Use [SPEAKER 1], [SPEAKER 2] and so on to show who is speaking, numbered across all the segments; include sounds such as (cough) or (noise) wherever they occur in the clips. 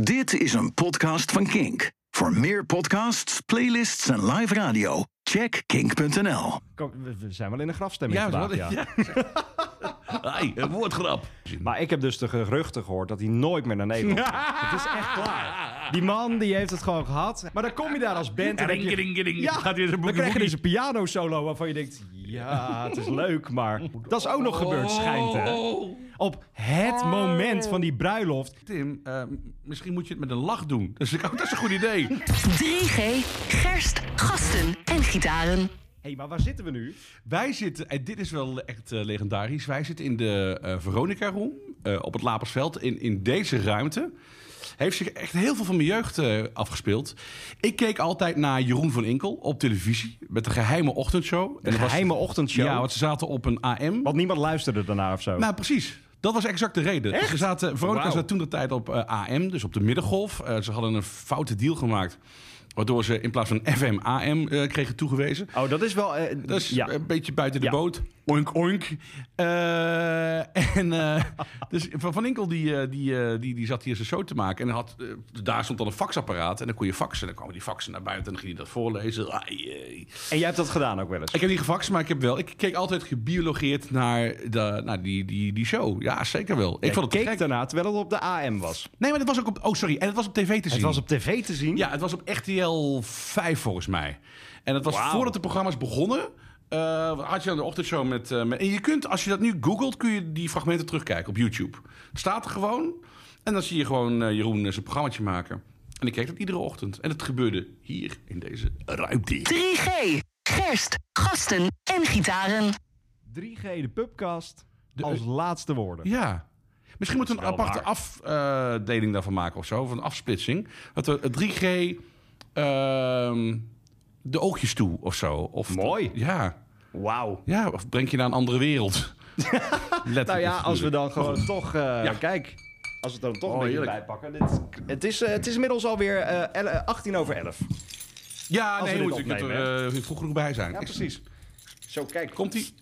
[SPEAKER 1] Dit is een podcast van Kink. Voor meer podcasts, playlists en live radio, check kink.nl.
[SPEAKER 2] Kom, we- We zijn wel in een grafstemming
[SPEAKER 3] Ja,
[SPEAKER 2] vandaag,
[SPEAKER 3] wat,
[SPEAKER 2] ja.
[SPEAKER 3] ja. (laughs) Ai, een woordgrap.
[SPEAKER 2] Maar ik heb dus de geruchten gehoord dat hij nooit meer naar
[SPEAKER 3] (laughs)
[SPEAKER 2] Nederland gaat. Het is echt klaar. Die man die heeft het gewoon gehad. Maar dan kom je daar als band en dan,
[SPEAKER 3] Ring, ring, ring.
[SPEAKER 2] ja,
[SPEAKER 3] Gaat weer
[SPEAKER 2] dan
[SPEAKER 3] zo'n
[SPEAKER 2] krijg je
[SPEAKER 3] boekie-boekie.
[SPEAKER 2] deze piano solo waarvan je denkt... Ja, het is leuk, maar dat is ook nog gebeurd, schijnt hè.
[SPEAKER 3] Oh.
[SPEAKER 2] Op het moment van die bruiloft.
[SPEAKER 3] Tim, eh, misschien moet je het met een lach doen. Dus ik, oh, dat is een goed
[SPEAKER 2] (laughs)
[SPEAKER 3] idee.
[SPEAKER 4] 3G, gerst, gasten en gitaren.
[SPEAKER 2] Hé, maar waar zitten we nu?
[SPEAKER 3] Wij zitten, en dit is wel echt eh, legendarisch. Wij zitten in de eh, Veronica Room eh, op het Lapersveld. In, in deze ruimte heeft zich echt heel veel van mijn jeugd eh, afgespeeld. Ik keek altijd naar Jeroen van Inkel op televisie met de geheime ochtendshow.
[SPEAKER 2] Een
[SPEAKER 3] dat was-
[SPEAKER 2] geheime ochtendshow.
[SPEAKER 3] Ja, want ze zaten op een AM.
[SPEAKER 2] Want niemand luisterde daarna of zo.
[SPEAKER 3] Nou, precies. Dat was exact de reden. Ze zaten, Veronica
[SPEAKER 2] Wauw.
[SPEAKER 3] zat toen de tijd op eh, AM, dus op de middengolf. Eh, ze hadden een foute deal gemaakt, waardoor ze in plaats van FM AM eh, kregen toegewezen.
[SPEAKER 2] oh, dat is wel... eh,
[SPEAKER 3] Dat is
[SPEAKER 2] ja.
[SPEAKER 3] een beetje buiten de
[SPEAKER 2] Ja.
[SPEAKER 3] boot. Oink, oink. Eh, (laughs) en eh, dus Van Van Inkel die, eh, die, eh, die, die zat hier zijn show te maken. En had, eh, daar stond dan een faxapparaat. En dan kon je faxen. Dan kwamen die faxen naar buiten en dan ging hij dat voorlezen. Ai, ai.
[SPEAKER 2] En jij hebt dat gedaan ook wel eens.
[SPEAKER 3] Ik heb niet gefaxt, maar ik heb wel. Ik keek altijd gebiologeerd naar, de, naar die, die, die show. Ja, zeker wel. Ik
[SPEAKER 2] Jij
[SPEAKER 3] vond het te
[SPEAKER 2] keek
[SPEAKER 3] gek.
[SPEAKER 2] daarna terwijl het op de AM was.
[SPEAKER 3] Nee, maar dat was ook op. Oh, sorry. En het was op tv te zien.
[SPEAKER 2] Het was op tv te zien.
[SPEAKER 3] Ja, het was op RTL 5 volgens mij. En dat was
[SPEAKER 2] Wauw.
[SPEAKER 3] voordat de programma's begonnen. eh, had je dan de ochtendshow met, eh, met- En je kunt, als je dat nu googelt, kun je die fragmenten terugkijken op YouTube. Het staat er gewoon. En dan zie je gewoon eh, Jeroen eh, zijn programmaatje maken. En ik keek dat iedere ochtend. En het gebeurde hier in deze ruimte.
[SPEAKER 4] 3G, gerst, gasten en gitaren.
[SPEAKER 2] 3G, de pubcast,
[SPEAKER 3] De-
[SPEAKER 2] als laatste woorden.
[SPEAKER 3] Ja. Misschien moeten we een
[SPEAKER 2] Dat is wel
[SPEAKER 3] aparte afdeling daarvan maken of zo. Of een afsplitsing. Dat we het 3G ehm, de oogjes toe of zo. Of
[SPEAKER 2] Mooi.
[SPEAKER 3] ja.
[SPEAKER 2] Wauw.
[SPEAKER 3] Ja, of breng je naar een andere
[SPEAKER 2] (laughs)
[SPEAKER 3] wereld. Letterlijk.
[SPEAKER 2] Nou ja, als we dan gewoon toch... eh,
[SPEAKER 3] Ja.
[SPEAKER 2] Kijk, als we het dan toch
[SPEAKER 3] Oh,
[SPEAKER 2] een beetje
[SPEAKER 3] heerlijk.
[SPEAKER 2] bijpakken. Dit, het, is, eh, het is inmiddels alweer eh, el- eh, 18 over 11.
[SPEAKER 3] Ja,
[SPEAKER 2] we
[SPEAKER 3] nee,
[SPEAKER 2] dit
[SPEAKER 3] moet ik er
[SPEAKER 2] opnemen,
[SPEAKER 3] eh, vroeg genoeg bij zijn.
[SPEAKER 2] Ja,
[SPEAKER 3] Ik-
[SPEAKER 2] precies. Zo, kijk.
[SPEAKER 3] Komt-ie?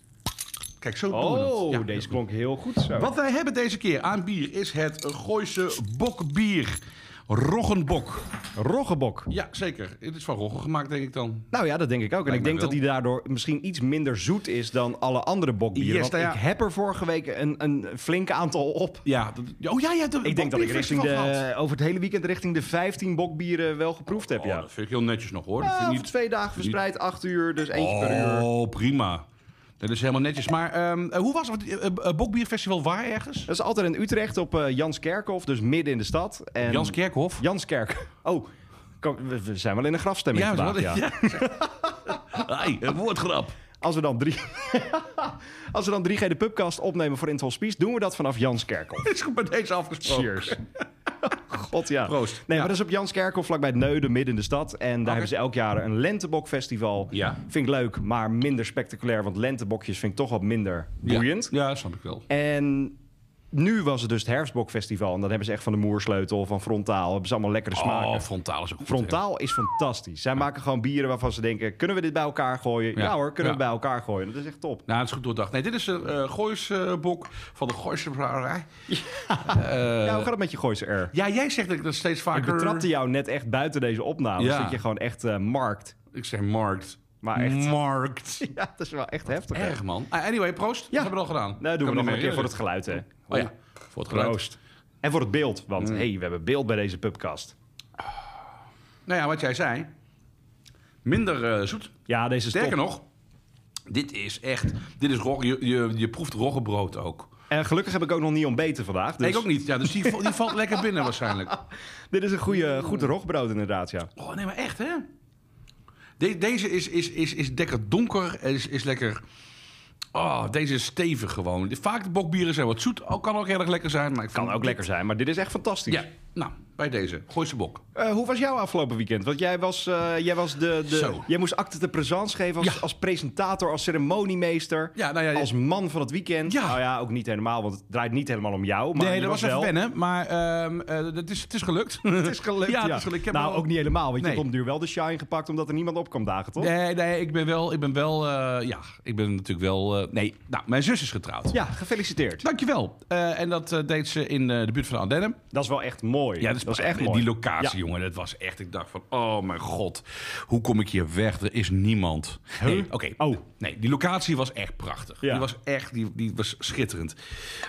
[SPEAKER 3] Kijk, zo doen we dat.
[SPEAKER 2] Oh,
[SPEAKER 3] Ja.
[SPEAKER 2] deze klonk heel goed zo.
[SPEAKER 3] Wat wij hebben deze keer aan bier is het Gooise bokbier. Roggenbok.
[SPEAKER 2] Roggebok.
[SPEAKER 3] Ja, zeker. Het is van roggen gemaakt, denk ik dan.
[SPEAKER 2] Nou ja, dat denk ik ook. En
[SPEAKER 3] Lijkt
[SPEAKER 2] ik denk
[SPEAKER 3] mij
[SPEAKER 2] dat
[SPEAKER 3] wel.
[SPEAKER 2] die daardoor misschien iets minder zoet is dan alle andere bokbieren.
[SPEAKER 3] Yes,
[SPEAKER 2] want
[SPEAKER 3] nou ja.
[SPEAKER 2] ik heb er vorige week een, een flink aantal op.
[SPEAKER 3] Ja, dat- oh ja, ja. de-
[SPEAKER 2] Ik denk dat ik richting
[SPEAKER 3] bokbierfestival gehad.
[SPEAKER 2] de, over het hele weekend richting de 15 bokbieren wel geproefd heb,
[SPEAKER 3] Oh,
[SPEAKER 2] ja.
[SPEAKER 3] dat vind ik heel netjes nog, hoor. dat
[SPEAKER 2] Ah,
[SPEAKER 3] vind ik
[SPEAKER 2] over twee dagen verspreid, acht uur, dus eentje per uur.
[SPEAKER 3] Oh, prima. Dat is helemaal netjes. Maar ehm, eh, hoe was het? Eh, eh, Bokbierfestival waar ergens?
[SPEAKER 2] Dat is altijd in Utrecht op eh Janskerkhof, dus midden in de stad. En
[SPEAKER 3] Jans Kerkhof?
[SPEAKER 2] Janskerk. Oh, kom, we we zijn wel in een grafstemming
[SPEAKER 3] Ja,
[SPEAKER 2] vandaag,
[SPEAKER 3] dat
[SPEAKER 2] ja.
[SPEAKER 3] ja. (laughs) Ai, een woordgrap. (laughs)
[SPEAKER 2] Als we dan drie... (laughs) Als we dan 3G de pubcast opnemen voor in het hospice, doen we dat vanaf Janskerkhof.
[SPEAKER 3] Is goed bij deze afgesproken.
[SPEAKER 2] Cheers. (laughs) God ja.
[SPEAKER 3] Proost.
[SPEAKER 2] Nee,
[SPEAKER 3] Ja.
[SPEAKER 2] maar dat is op Janskerkhof, vlakbij het Neuden, midden in de stad. En daar hebben ze elk jaar een lentebokfestival.
[SPEAKER 3] Ja.
[SPEAKER 2] Vind ik leuk, maar minder spectaculair. Want lentebokjes vind ik toch wat minder boeiend.
[SPEAKER 3] Ja, ja, snap ik wel.
[SPEAKER 2] En nu was het dus het Herfstbokfestival. En dan hebben ze echt van de Moersleutel, van Frontaal. Hebben ze allemaal lekkere smaken.
[SPEAKER 3] Oh, frontaal is ook goed.
[SPEAKER 2] Frontaal is fantastisch. Zij maken gewoon bieren waarvan ze denken... kunnen we dit bij elkaar gooien? Ja,
[SPEAKER 3] Ja.
[SPEAKER 2] hoor, kunnen we
[SPEAKER 3] Ja.
[SPEAKER 2] bij elkaar gooien. Dat is echt top.
[SPEAKER 3] hè. Nou, het is goed doordacht. Nee, dit is een eh Gooisbok van de Gooise Brouwerij. Eh,
[SPEAKER 2] ja, hoe gaat het met je Gooise R?
[SPEAKER 3] Ja, jij zegt dat ik dat steeds
[SPEAKER 2] Ik
[SPEAKER 3] vaker...
[SPEAKER 2] betrapte jou net echt buiten deze opname. Dus
[SPEAKER 3] Ja.
[SPEAKER 2] dat je gewoon echt eh, markt.
[SPEAKER 3] Ik zeg markt.
[SPEAKER 2] Maar
[SPEAKER 3] Mm.
[SPEAKER 2] echt.
[SPEAKER 3] Markt.
[SPEAKER 2] (laughs) Ja, dat is wel echt heftig. hè?
[SPEAKER 3] Erg, man. Ah, Anyway, proost. Dat hebben we al gedaan.
[SPEAKER 2] Nou, doen we
[SPEAKER 3] Kan
[SPEAKER 2] nog
[SPEAKER 3] me
[SPEAKER 2] een keer voor het
[SPEAKER 3] herinneren.
[SPEAKER 2] geluid, hè.
[SPEAKER 3] Oh ja, voor het geluid.
[SPEAKER 2] Proost. En voor het beeld, want
[SPEAKER 3] Mm.
[SPEAKER 2] hé, hey, we hebben beeld bij deze pubcast.
[SPEAKER 3] Nou ja, wat jij zei. Minder eh, zoet.
[SPEAKER 2] Ja, deze is
[SPEAKER 3] Sterker
[SPEAKER 2] top.
[SPEAKER 3] nog, dit is echt... Dit is rog, je, je, je proeft roggebrood ook.
[SPEAKER 2] En gelukkig heb ik ook nog niet ontbeten vandaag. Dus
[SPEAKER 3] Nee, ik ook niet. Ja, dus die, die valt lekker binnen
[SPEAKER 2] (laughs)
[SPEAKER 3] waarschijnlijk.
[SPEAKER 2] Dit is een goede,
[SPEAKER 3] Mm.
[SPEAKER 2] goed rogbrood inderdaad, ja.
[SPEAKER 3] Oh, nee, maar echt, hè? De- deze is, is, is, is lekker donker, is, is lekker... Oh, deze is stevig gewoon. De- Vaak de bokbieren zijn wat zoet, ook, kan ook heel erg lekker zijn. Maar ik
[SPEAKER 2] Kan
[SPEAKER 3] vind-
[SPEAKER 2] ook lekker zijn, maar dit is echt fantastisch.
[SPEAKER 3] Ja, nou, bij deze. Gooi ze bok.
[SPEAKER 2] Eh, hoe was jouw afgelopen weekend? Want jij was, eh, jij was de, de
[SPEAKER 3] Zo.
[SPEAKER 2] jij moest acte de présence geven als,
[SPEAKER 3] Ja.
[SPEAKER 2] als presentator, als ceremoniemeester,
[SPEAKER 3] Ja, nou ja,
[SPEAKER 2] als man van het weekend.
[SPEAKER 3] Ja.
[SPEAKER 2] Nou ja, ook niet helemaal, want het draait niet helemaal om jou. Maar
[SPEAKER 3] nee,
[SPEAKER 2] je
[SPEAKER 3] dat was
[SPEAKER 2] wel.
[SPEAKER 3] even wennen, maar ehm, eh, het, is, het is gelukt.
[SPEAKER 2] (laughs) Het is gelukt.
[SPEAKER 3] (laughs) Ja, het is gelukt. Ik heb
[SPEAKER 2] nou,
[SPEAKER 3] wel-
[SPEAKER 2] ook niet helemaal, want je
[SPEAKER 3] Nee.
[SPEAKER 2] hebt op duur wel de shine gepakt omdat er niemand op kwam dagen, toch?
[SPEAKER 3] Nee, nee, ik ben wel... Ik ben wel eh, ja, ik ben natuurlijk wel... eh, nee, nou, mijn zus is getrouwd. Nou-
[SPEAKER 2] Ja, gefeliciteerd.
[SPEAKER 3] Dankjewel. Eh en dat eh, deed ze in eh, de buurt van Ardennen.
[SPEAKER 2] Dat is wel echt mooi mooi.
[SPEAKER 3] Ja, dat is
[SPEAKER 2] was
[SPEAKER 3] pas echt
[SPEAKER 2] mooi.
[SPEAKER 3] die locatie,
[SPEAKER 2] Ja.
[SPEAKER 3] jongen. Dat was echt. Ik dacht van, oh mijn god, hoe kom ik hier weg? Er is niemand. Nee, oké.
[SPEAKER 2] Oh.
[SPEAKER 3] Nee, die locatie was echt prachtig.
[SPEAKER 2] Ja.
[SPEAKER 3] Die was echt, die, die was schitterend.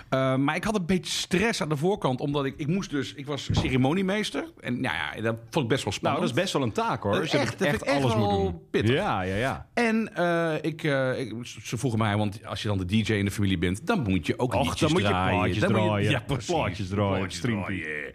[SPEAKER 3] Eh, maar ik had een beetje stress aan de voorkant, omdat ik, ik moest dus, ik was ceremoniemeester en nou ja, dat vond ik best
[SPEAKER 2] Nou,
[SPEAKER 3] wel spannend.
[SPEAKER 2] dat is best wel een taak hoor.
[SPEAKER 3] Dat
[SPEAKER 2] Als je
[SPEAKER 3] is
[SPEAKER 2] echt,
[SPEAKER 3] echt, dat vind ik echt
[SPEAKER 2] alles moet
[SPEAKER 3] wel
[SPEAKER 2] doen.
[SPEAKER 3] pittig.
[SPEAKER 2] Ja, ja, ja.
[SPEAKER 3] En eh, ik, eh, ik, ze vroegen mij, want als je dan de DJ in de familie bent, dan moet je ook
[SPEAKER 2] Och,
[SPEAKER 3] liedjes
[SPEAKER 2] dan moet je
[SPEAKER 3] draaien.
[SPEAKER 2] plaatjes
[SPEAKER 3] Dan moet je-
[SPEAKER 2] draaien.
[SPEAKER 3] ja, precies.
[SPEAKER 2] Plaatjes draaien,
[SPEAKER 3] Plaatjes
[SPEAKER 2] streampie.
[SPEAKER 3] draaien.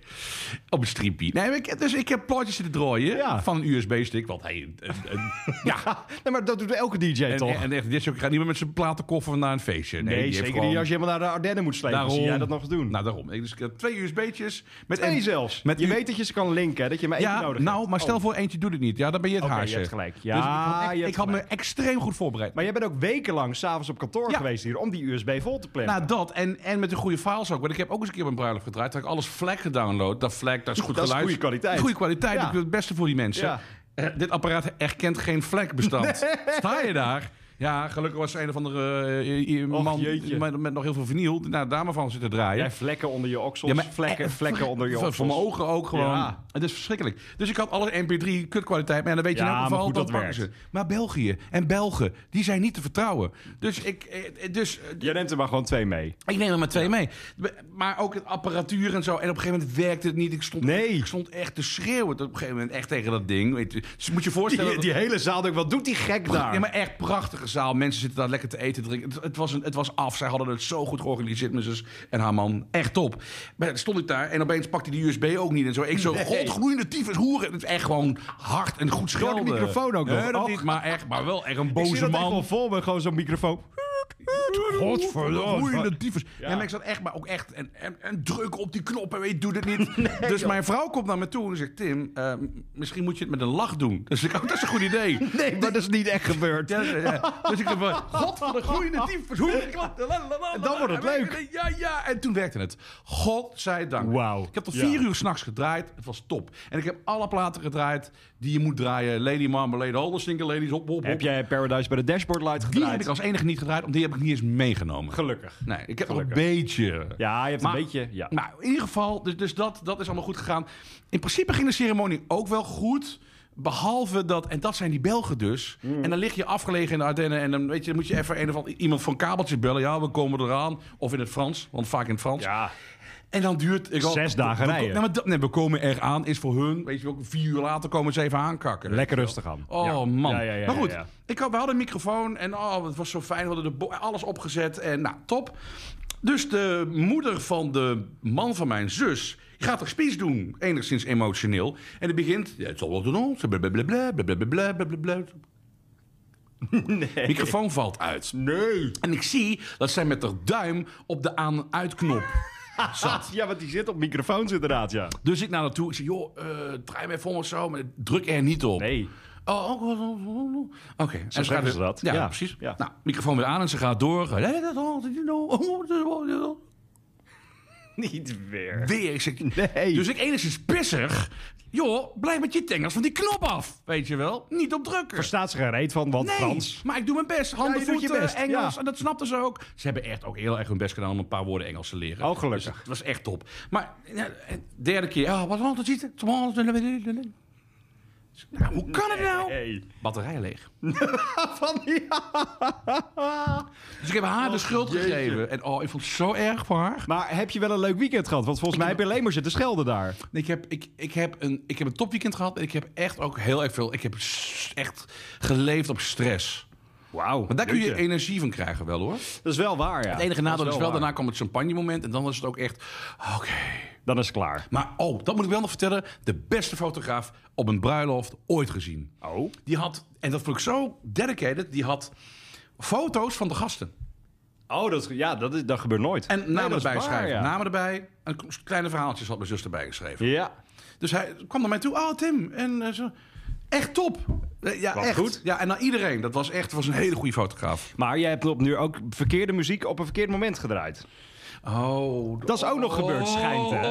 [SPEAKER 3] Op een streampie. Nee, maar ik, dus ik heb plaatjes zitten draaien
[SPEAKER 2] Ja.
[SPEAKER 3] van een USB-stick. Want hey, eh, eh,
[SPEAKER 2] (laughs)
[SPEAKER 3] ja.
[SPEAKER 2] Nee, maar dat doet elke DJ
[SPEAKER 3] En,
[SPEAKER 2] toch?
[SPEAKER 3] en echt, dit is ook, gaat niet meer met zijn platenkoffer naar een feestje.
[SPEAKER 2] nee,
[SPEAKER 3] die heeft
[SPEAKER 2] zeker
[SPEAKER 3] gewoon-
[SPEAKER 2] niet als je helemaal naar de Ardennen moet slepen.
[SPEAKER 3] Daarom.
[SPEAKER 2] Zie jij dat nog eens doen?
[SPEAKER 3] Nou, daarom. Ik- Dus ik heb twee USB'tjes. Met
[SPEAKER 2] Twee
[SPEAKER 3] en-
[SPEAKER 2] zelfs.
[SPEAKER 3] Met
[SPEAKER 2] je
[SPEAKER 3] u-
[SPEAKER 2] weet dat je ze kan linken, hè, dat je maar één
[SPEAKER 3] Ja,
[SPEAKER 2] nodig hebt.
[SPEAKER 3] nou, maar stel
[SPEAKER 2] Oh.
[SPEAKER 3] voor eentje doet het niet. Ja, dan ben je het
[SPEAKER 2] Oké, je
[SPEAKER 3] haasje.
[SPEAKER 2] hebt gelijk.
[SPEAKER 3] dus ik
[SPEAKER 2] Ja,
[SPEAKER 3] had, echt-
[SPEAKER 2] je hebt
[SPEAKER 3] ik had me
[SPEAKER 2] gelijk.
[SPEAKER 3] extreem goed voorbereid.
[SPEAKER 2] Maar jij bent ook wekenlang s'avonds op kantoor
[SPEAKER 3] Ja.
[SPEAKER 2] geweest hier om die USB vol te plannen.
[SPEAKER 3] Nou, dat en, en met de goede files ook. Want ik heb ook eens een keer mijn bruiloft gedraaid. Dat ik alles flag gedownload. Dat flag, dat is goed
[SPEAKER 2] (laughs) Dat is
[SPEAKER 3] geluid.
[SPEAKER 2] goede kwaliteit.
[SPEAKER 3] Goede kwaliteit.
[SPEAKER 2] Ja.
[SPEAKER 3] Ik wil het beste voor die mensen.
[SPEAKER 2] Ja.
[SPEAKER 3] Eh, dit apparaat erkent geen
[SPEAKER 2] (laughs)
[SPEAKER 3] vlekbestand. Sta je daar? Ja, gelukkig was er een of andere eh, eh,
[SPEAKER 2] Och,
[SPEAKER 3] man
[SPEAKER 2] jeetje.
[SPEAKER 3] met, met nog heel veel vinyl. Nou, daar maar van zitten draaien.
[SPEAKER 2] jij vlekken onder je oksels,
[SPEAKER 3] Ja, maar- eh,
[SPEAKER 2] vlekken, vlekken onder je
[SPEAKER 3] Van-
[SPEAKER 2] oksels.
[SPEAKER 3] Van mijn ogen ook gewoon.
[SPEAKER 2] Ja.
[SPEAKER 3] Het is verschrikkelijk. Dus ik had alle MP3 kutkwaliteit. Maar ja, dan weet je
[SPEAKER 2] Ja,
[SPEAKER 3] in elk
[SPEAKER 2] maar
[SPEAKER 3] geval,
[SPEAKER 2] goed,
[SPEAKER 3] dan
[SPEAKER 2] dat
[SPEAKER 3] pakken ze.
[SPEAKER 2] werkt.
[SPEAKER 3] Maar België en Belgen, die zijn niet te vertrouwen. Dus ik, eh, dus eh,
[SPEAKER 2] Jij neemt er maar gewoon twee mee.
[SPEAKER 3] ik neem er maar twee mee. Maar ook het apparatuur en zo. En op een gegeven moment werkte het niet. Ik stond,
[SPEAKER 2] Nee.
[SPEAKER 3] ik stond echt te schreeuwen. Op een gegeven moment echt tegen dat ding. Weet je. Dus moet je voorstellen.
[SPEAKER 2] Die, die hele zaal, denkt, wat doet die gek daar?
[SPEAKER 3] Ja, maar echt prachtige zaal. Mensen zitten daar lekker te eten, drinken. Het, het was een, het was af. Zij hadden het zo goed georganiseerd, mijn zus en haar man. Echt top. Maar dan stond ik daar en opeens pakte die USB ook niet en zo. Ik zo, godgroeiende tyfus, hoeren. Het is echt gewoon hard en goed
[SPEAKER 2] Door de
[SPEAKER 3] schelden.
[SPEAKER 2] microfoon ook
[SPEAKER 3] Nee,
[SPEAKER 2] nog.
[SPEAKER 3] dat
[SPEAKER 2] Och.
[SPEAKER 3] niet, maar echt, maar wel echt een
[SPEAKER 2] ik zie
[SPEAKER 3] boze
[SPEAKER 2] dat echt wel
[SPEAKER 3] man.
[SPEAKER 2] vol met gewoon zo'n microfoon.
[SPEAKER 3] Godverdomme. tyfus.
[SPEAKER 2] Ja.
[SPEAKER 3] Ja. maar ik zat echt, maar ook echt. En, en, en druk op die knop en weet, doe dit
[SPEAKER 2] (laughs)
[SPEAKER 3] niet. dus mijn vrouw komt naar me toe en zegt: Tim, eh, misschien moet je het met een lach doen. Dus ik, oh, dat is een goed idee.
[SPEAKER 2] (laughs) Nee, maar dat is niet echt gebeurd. (laughs)
[SPEAKER 3] Ja, ja, ja. Dus ik dacht van, god van de groeiende tyfus. Hoe die klopt. la, la, la, la.
[SPEAKER 2] Dan wordt het leuk.
[SPEAKER 3] Ja, ja. En toen werkte het. Godzijdank.
[SPEAKER 2] Wauw.
[SPEAKER 3] Ik heb tot
[SPEAKER 2] Ja.
[SPEAKER 3] vier uur s'nachts gedraaid. Het was top. En ik heb alle platen gedraaid die je moet draaien. Lady Marmalade, All the Single Ladies, hop, hop, hop.
[SPEAKER 2] Heb jij Paradise bij de Dashboard Light
[SPEAKER 3] Die
[SPEAKER 2] gedraaid?
[SPEAKER 3] heb ik als enige niet gedraaid, want die heb ik niet eens meegenomen.
[SPEAKER 2] Gelukkig.
[SPEAKER 3] Nee, ik heb nog een
[SPEAKER 2] Gelukkig.
[SPEAKER 3] beetje.
[SPEAKER 2] Ja, je hebt
[SPEAKER 3] Maar-
[SPEAKER 2] een beetje... Ja.
[SPEAKER 3] Nou, in ieder geval, dus, dus dat, dat is allemaal goed gegaan. In principe ging de ceremonie ook wel goed. Behalve dat, en dat zijn die Belgen dus.
[SPEAKER 2] Hmm.
[SPEAKER 3] En dan lig je afgelegen in de Ardennen. En dan, weet je, dan moet je even een of ander- iemand van kabeltje bellen. Ja, we komen eraan. Of in het Frans, want vaak in het Frans.
[SPEAKER 2] ja.
[SPEAKER 3] En dan duurt... ik al-
[SPEAKER 2] Zes dagen
[SPEAKER 3] we- we-
[SPEAKER 2] rijden.
[SPEAKER 3] Nee, maar dat- nee, we komen eraan is voor hun. Weet je wel, vier uur later komen ze even aankakken.
[SPEAKER 2] Lekker rustig aan.
[SPEAKER 3] Oh
[SPEAKER 2] Ja.
[SPEAKER 3] man.
[SPEAKER 2] Ja, ja, ja,
[SPEAKER 3] maar goed,
[SPEAKER 2] ja, ja.
[SPEAKER 3] Ik had, we hadden een microfoon en oh, het was zo fijn. We hadden de bo- alles opgezet en nou, top. Dus de moeder van de man van mijn zus die gaat haar speech doen, enigszins emotioneel. En die begint, ja, het zal wel doen, ze blablabla, blablabla, (laughs) blablabla. Microfoon valt uit.
[SPEAKER 2] Nee.
[SPEAKER 3] En ik zie dat zij met haar duim op de aan-uitknop zat.
[SPEAKER 2] Ja, want die zit op microfoons inderdaad, ja.
[SPEAKER 3] Dus ik naar haar toe. Ik zeg, joh, eh, draai me even om of zo. Maar druk er niet op.
[SPEAKER 2] Nee.
[SPEAKER 3] Oh, oh, oh, oh, oh, oh. oké. En ze
[SPEAKER 2] zeggen
[SPEAKER 3] gaat
[SPEAKER 2] ze
[SPEAKER 3] weer-
[SPEAKER 2] dat.
[SPEAKER 3] Ja,
[SPEAKER 2] Ja.
[SPEAKER 3] precies.
[SPEAKER 2] Ja.
[SPEAKER 3] Nou, microfoon weer aan en ze gaat door. oh,
[SPEAKER 2] Niet weer.
[SPEAKER 3] Weer. Ik zeg,
[SPEAKER 2] (laughs) Nee.
[SPEAKER 3] Dus ik enigszins pissig. Joh, blijf met je tengels van die knop af. Weet je wel? Niet op drukken.
[SPEAKER 2] Staat ze geen reet van, want
[SPEAKER 3] Nee,
[SPEAKER 2] Frans...
[SPEAKER 3] maar ik doe mijn best. Handen,
[SPEAKER 2] Ja, je doet je
[SPEAKER 3] voeten,
[SPEAKER 2] best,
[SPEAKER 3] Engels.
[SPEAKER 2] ja.
[SPEAKER 3] En dat snapten ze ook. Ze hebben echt ook heel erg hun best gedaan om een paar woorden Engels te leren.
[SPEAKER 2] Oh, gelukkig.
[SPEAKER 3] Dus het was echt top. Maar ja, en derde keer. Oh, wat altijd ziet. Nou, hoe kan het nou?
[SPEAKER 2] Nee.
[SPEAKER 3] Batterij leeg.
[SPEAKER 2] (laughs) Van die... Oh,
[SPEAKER 3] Dus ik heb haar de schuld
[SPEAKER 2] jeetje.
[SPEAKER 3] gegeven. En oh, ik vond het zo erg voor haar.
[SPEAKER 2] Maar heb je wel een leuk weekend gehad? Want volgens mij heb je alleen maar zitten schelden daar.
[SPEAKER 3] Ik heb, ik, ik, heb een, ik heb een topweekend gehad. En ik heb echt ook heel erg veel... Ik heb s- echt geleefd op stress.
[SPEAKER 2] Wauw.
[SPEAKER 3] Maar daar kun je energie van krijgen wel, hoor.
[SPEAKER 2] Dat is wel waar, ja.
[SPEAKER 3] Het enige nadeel is wel,
[SPEAKER 2] waar.
[SPEAKER 3] daarna kwam het champagne moment. En dan was het ook echt... Oké.
[SPEAKER 2] Dan is het klaar.
[SPEAKER 3] Maar oh, dat moet ik wel nog vertellen. De beste fotograaf op een bruiloft ooit gezien.
[SPEAKER 2] Oh.
[SPEAKER 3] Die had, en dat vond ik zo dedicated, die had foto's van de gasten.
[SPEAKER 2] Oh, dat, is- ja, dat, is, dat gebeurt nooit.
[SPEAKER 3] En namen
[SPEAKER 2] dat is
[SPEAKER 3] erbij
[SPEAKER 2] waar,
[SPEAKER 3] schrijven.
[SPEAKER 2] ja.
[SPEAKER 3] Namen erbij. En kleine verhaaltjes had mijn zus erbij geschreven.
[SPEAKER 2] Ja.
[SPEAKER 3] Dus hij kwam naar mij toe. Oh, Tim. En eh, zo. Echt top. Eh, Ja,
[SPEAKER 2] Wat
[SPEAKER 3] echt.
[SPEAKER 2] goed.
[SPEAKER 3] Ja, en aan iedereen. Dat was echt was een hele goede fotograaf.
[SPEAKER 2] Maar jij hebt op nu ook verkeerde muziek op een verkeerd moment gedraaid.
[SPEAKER 3] Oh.
[SPEAKER 2] Dat is ook nog gebeurd, schijnt, hè?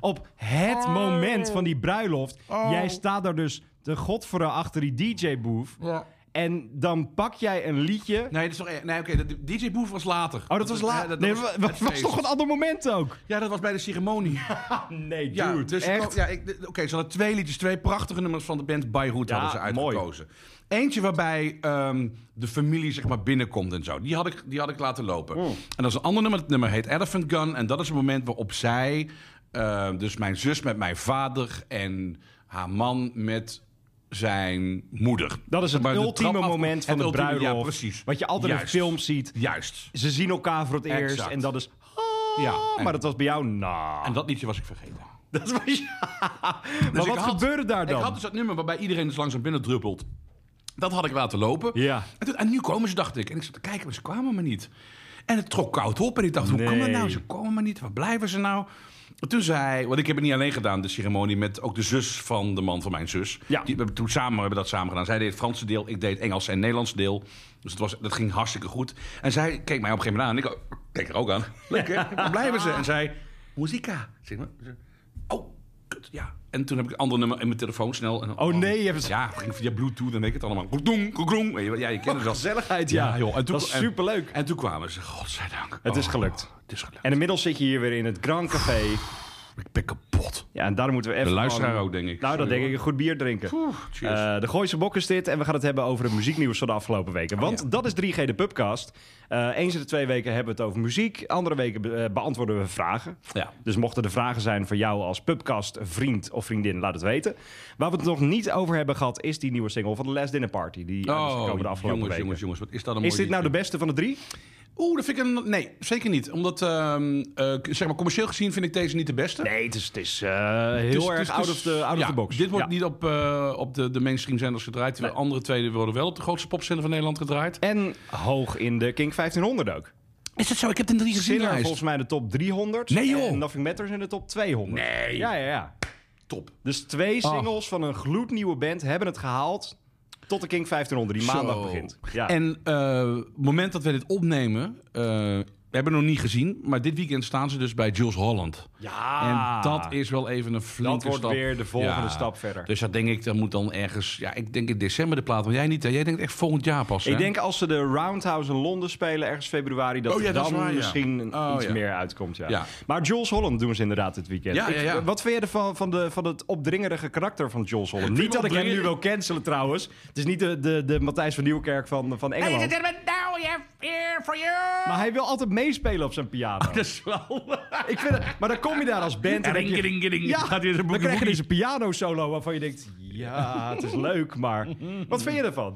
[SPEAKER 2] Op het
[SPEAKER 3] Oh.
[SPEAKER 2] moment van die bruiloft. Jij staat daar dus de godverre achter die DJ-boef.
[SPEAKER 3] Ja.
[SPEAKER 2] En dan pak jij een liedje.
[SPEAKER 3] Nee, dat is nog, e- nee oké, dat- DJ Boef was later.
[SPEAKER 2] Oh, dat was
[SPEAKER 3] Ja,
[SPEAKER 2] laat.
[SPEAKER 3] dat
[SPEAKER 2] nee,
[SPEAKER 3] was
[SPEAKER 2] dat
[SPEAKER 3] het
[SPEAKER 2] was,
[SPEAKER 3] feest.
[SPEAKER 2] toch een ander moment ook?
[SPEAKER 3] Ja, dat was bij de ceremonie.
[SPEAKER 2] Nee, dude.
[SPEAKER 3] Ja, dus ik
[SPEAKER 2] echt.
[SPEAKER 3] ko- ja, ik- d- oké, ze hadden twee liedjes, twee prachtige nummers van de band Beirut
[SPEAKER 2] Ja,
[SPEAKER 3] hadden ze
[SPEAKER 2] mooi.
[SPEAKER 3] uitgekozen. Eentje waarbij ehm, de familie zeg maar binnenkomt en zo. Die had ik, die had ik laten lopen.
[SPEAKER 2] Hmm.
[SPEAKER 3] En dat is een ander nummer. Het nummer heet Elephant Gun. En dat is het moment waarop zij, ehm, dus mijn zus met mijn vader en haar man met zijn moeder.
[SPEAKER 2] Dat is het
[SPEAKER 3] Maar de
[SPEAKER 2] ultieme
[SPEAKER 3] trap af-
[SPEAKER 2] moment van
[SPEAKER 3] het
[SPEAKER 2] de
[SPEAKER 3] ultieme-
[SPEAKER 2] bruiloft.
[SPEAKER 3] Ja, precies.
[SPEAKER 2] Wat je altijd in
[SPEAKER 3] Juist.
[SPEAKER 2] films ziet.
[SPEAKER 3] Juist.
[SPEAKER 2] Ze zien elkaar voor het eerst
[SPEAKER 3] Exact.
[SPEAKER 2] en dat is...
[SPEAKER 3] Ja,
[SPEAKER 2] ja,
[SPEAKER 3] en-
[SPEAKER 2] maar dat was bij jou... Nou,
[SPEAKER 3] En dat liedje was ik vergeten.
[SPEAKER 2] dat was... (laughs)
[SPEAKER 3] Dus
[SPEAKER 2] maar
[SPEAKER 3] ik
[SPEAKER 2] wat
[SPEAKER 3] had-
[SPEAKER 2] gebeurde daar dan?
[SPEAKER 3] Ik had dus dat nummer waarbij iedereen dus langzaam binnen druppelt. Dat had ik laten lopen.
[SPEAKER 2] Ja.
[SPEAKER 3] En, toen- en nu komen ze, dacht ik. En ik zat te kijken, maar ze kwamen maar niet. En het trok koud op. En ik dacht, hoe kan dat
[SPEAKER 2] Nee.
[SPEAKER 3] nou? Ze komen maar niet. Waar blijven ze nou? En Toen zei, want ik heb het niet alleen gedaan, de ceremonie met ook de zus van de man van mijn zus.
[SPEAKER 2] Ja.
[SPEAKER 3] Die, we hebben toen samen we hebben dat samen gedaan. Zij deed het Franse deel, ik deed het Engels en Nederlands deel. Dus het was, dat ging hartstikke goed. En zij keek mij op een gegeven moment aan. En ik ook, keek er ook aan.
[SPEAKER 2] (laughs)
[SPEAKER 3] Lekker, waar blijven ze? En zij, muzika. Zeg maar. Ze- Oh, kut, ja. En toen heb ik een ander nummer in mijn telefoon snel. En dan-
[SPEAKER 2] Oh, nee, je hebt het-
[SPEAKER 3] Ja, het ging via bluetooth en weet ik het allemaal. Kroedoeng, kroedoeng. Weet je wel, Ja, je kent het wel.
[SPEAKER 2] Gezelligheid, ja.
[SPEAKER 3] joh. En toen,
[SPEAKER 2] dat is superleuk.
[SPEAKER 3] En, en toen kwamen ze, godzijdank.
[SPEAKER 2] Het is
[SPEAKER 3] Oh,
[SPEAKER 2] gelukt.
[SPEAKER 3] Het is gelukt.
[SPEAKER 2] En inmiddels zit je hier weer in het Grand Café.
[SPEAKER 3] Ik ben kapot.
[SPEAKER 2] Ja, en daar moeten we even...
[SPEAKER 3] De luisteraar
[SPEAKER 2] gewoon-
[SPEAKER 3] ook, denk ik.
[SPEAKER 2] Nou, dat
[SPEAKER 3] Sorry,
[SPEAKER 2] denk ik.
[SPEAKER 3] hoor.
[SPEAKER 2] Een goed bier drinken.
[SPEAKER 3] cheers.
[SPEAKER 2] Eh, de Gooise Bok is dit. En we gaan het hebben over het muzieknieuws van de afgelopen weken. Want
[SPEAKER 3] Oh, ja.
[SPEAKER 2] dat is 3G de Pubcast. Eh, eens in de twee weken hebben we het over muziek. Andere weken be- eh, beantwoorden we vragen.
[SPEAKER 3] Ja.
[SPEAKER 2] Dus mochten er vragen zijn van jou als Pubcast vriend of vriendin, laat het weten. Waar we het nog niet over hebben gehad, is die nieuwe single van The Last Dinner Party. Die uit is
[SPEAKER 3] Oh,
[SPEAKER 2] gekomen dus de
[SPEAKER 3] jongens,
[SPEAKER 2] afgelopen
[SPEAKER 3] jongens,
[SPEAKER 2] weken.
[SPEAKER 3] jongens, Wat is dat een
[SPEAKER 2] Is
[SPEAKER 3] mooi
[SPEAKER 2] dit nou de
[SPEAKER 3] liedje.
[SPEAKER 2] beste van de drie?
[SPEAKER 3] Oeh, dat vind ik een... Nee, zeker niet. Omdat, ehm, eh, zeg maar, commercieel gezien vind ik deze niet de beste.
[SPEAKER 2] Nee, het is, het is eh, heel
[SPEAKER 3] Dus-
[SPEAKER 2] erg
[SPEAKER 3] dus-
[SPEAKER 2] out
[SPEAKER 3] dus-
[SPEAKER 2] of the, out of
[SPEAKER 3] ja,
[SPEAKER 2] the box.
[SPEAKER 3] Dit wordt
[SPEAKER 2] Ja.
[SPEAKER 3] niet op, eh, op de, de mainstream zenders gedraaid. De andere twee worden wel op de grootste popzender van Nederland gedraaid.
[SPEAKER 2] En hoog in de King 1500 ook.
[SPEAKER 3] Is dat zo? Ik heb het niet gezien.
[SPEAKER 2] Sinner
[SPEAKER 3] lijst.
[SPEAKER 2] volgens mij de top 300.
[SPEAKER 3] Nee, joh.
[SPEAKER 2] En Nothing Matters in de top 200.
[SPEAKER 3] Nee. Ah.
[SPEAKER 2] Ja, ja, ja.
[SPEAKER 3] Top.
[SPEAKER 2] Dus twee singles van een gloednieuwe band hebben het gehaald tot de King 1500 die maandag
[SPEAKER 3] Zo.
[SPEAKER 2] begint. Ja.
[SPEAKER 3] En eh, op het moment dat we dit opnemen, eh, we hebben het nog niet gezien, maar dit weekend staan ze dus bij Jules Holland.
[SPEAKER 2] ja.
[SPEAKER 3] En dat is wel even een flinke
[SPEAKER 2] wordt
[SPEAKER 3] stap.
[SPEAKER 2] weer de volgende stap verder.
[SPEAKER 3] Dus dat denk ik, dat moet dan ergens, ja, ik denk in december de plaat, want jij niet, hè? jij denkt echt volgend jaar pas.
[SPEAKER 2] Ik
[SPEAKER 3] hè?
[SPEAKER 2] denk als ze de Roundhouse in Londen spelen ergens februari, dat
[SPEAKER 3] Oh ja,
[SPEAKER 2] er
[SPEAKER 3] dat
[SPEAKER 2] dan
[SPEAKER 3] is waar, ja.
[SPEAKER 2] misschien een-
[SPEAKER 3] Oh
[SPEAKER 2] iets
[SPEAKER 3] ja.
[SPEAKER 2] meer uitkomt. Ja.
[SPEAKER 3] Ja.
[SPEAKER 2] Maar Jules Holland doen ze inderdaad dit weekend.
[SPEAKER 3] Ja,
[SPEAKER 2] Ik-
[SPEAKER 3] ja, ja.
[SPEAKER 2] Wat vind je ervan van, de, van het opdringerige karakter van Jules Holland? Niet dat ik hem nu wil
[SPEAKER 3] opdringerig?
[SPEAKER 2] cancelen trouwens. Het is niet de, de, de Matthijs van Nieuwkerk van, van Engeland.
[SPEAKER 3] now we have here for you.
[SPEAKER 2] Maar hij wil altijd meespelen op zijn piano.
[SPEAKER 3] (laughs) Dat is wel...
[SPEAKER 2] Ik vind het, maar dan kom je daar als band en denk je, ja,
[SPEAKER 3] Gaat weer de
[SPEAKER 2] dan
[SPEAKER 3] boekie
[SPEAKER 2] krijg je
[SPEAKER 3] boekie.
[SPEAKER 2] deze dus piano solo waarvan je denkt, ja, het is (laughs) leuk, maar wat vind je ervan?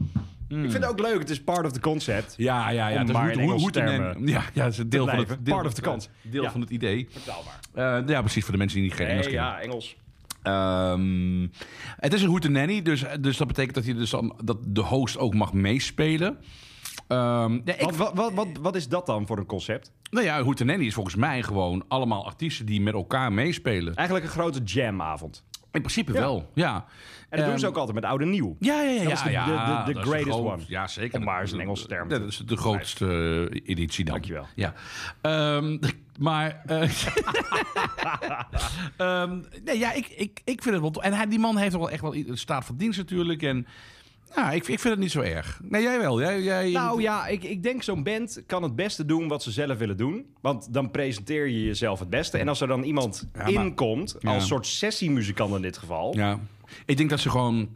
[SPEAKER 2] Ik vind het ook leuk, het is part of the concept.
[SPEAKER 3] Ja, ja, ja.
[SPEAKER 2] Om
[SPEAKER 3] Dus
[SPEAKER 2] maar
[SPEAKER 3] hoe,
[SPEAKER 2] in
[SPEAKER 3] hoe, hoe
[SPEAKER 2] Engelse
[SPEAKER 3] te
[SPEAKER 2] termen
[SPEAKER 3] nemen. Ja, ja, het is een deel van
[SPEAKER 2] blijven.
[SPEAKER 3] het deel,
[SPEAKER 2] Part of the kans.
[SPEAKER 3] Deel
[SPEAKER 2] Ja.
[SPEAKER 3] van het idee.
[SPEAKER 2] Betaalbaar.
[SPEAKER 3] Eh, ja, precies. Voor de mensen die geen Engels
[SPEAKER 2] Nee,
[SPEAKER 3] kennen.
[SPEAKER 2] ja, Engels.
[SPEAKER 3] Ehm, het is een hootenanny, dus, dus dat betekent dat, hij dus dan, dat de host ook mag meespelen. Ehm ja, ik,
[SPEAKER 2] Wat, wat, wat, wat, wat is dat dan voor een concept?
[SPEAKER 3] nou ja, hootenanny is volgens mij gewoon allemaal artiesten die met elkaar meespelen.
[SPEAKER 2] Eigenlijk een grote jamavond.
[SPEAKER 3] In principe wel, ja.
[SPEAKER 2] En dat doen ze ook altijd met oud en nieuw.
[SPEAKER 3] Ja, ja, ja.
[SPEAKER 2] Dat is de-
[SPEAKER 3] ja,
[SPEAKER 2] de- de- de
[SPEAKER 3] dat is
[SPEAKER 2] greatest
[SPEAKER 3] groot-
[SPEAKER 2] one.
[SPEAKER 3] Ja, zeker.
[SPEAKER 2] Om maar eens een Engelse term te-
[SPEAKER 3] Ja, Dat is de grootste eh, editie dan.
[SPEAKER 2] Dankjewel.
[SPEAKER 3] Ja. Ehm, (laughs) maar... eh, (laughs) ehm, nee, ja, ik, ik, ik vind het wel... tof. En hij, die man heeft wel echt wel i- een staat van dienst natuurlijk. En ja, ik, ik vind het niet zo erg. Nee, jij wel. Jij, jij,
[SPEAKER 2] Nou ja, ik, ik denk zo'n band kan het beste doen wat ze zelf willen doen. Want dan presenteer je jezelf het beste. En als er dan iemand
[SPEAKER 3] maar-
[SPEAKER 2] inkomt, als
[SPEAKER 3] Ja.
[SPEAKER 2] soort sessiemuzikant in dit geval...
[SPEAKER 3] ja. Ik denk dat ze gewoon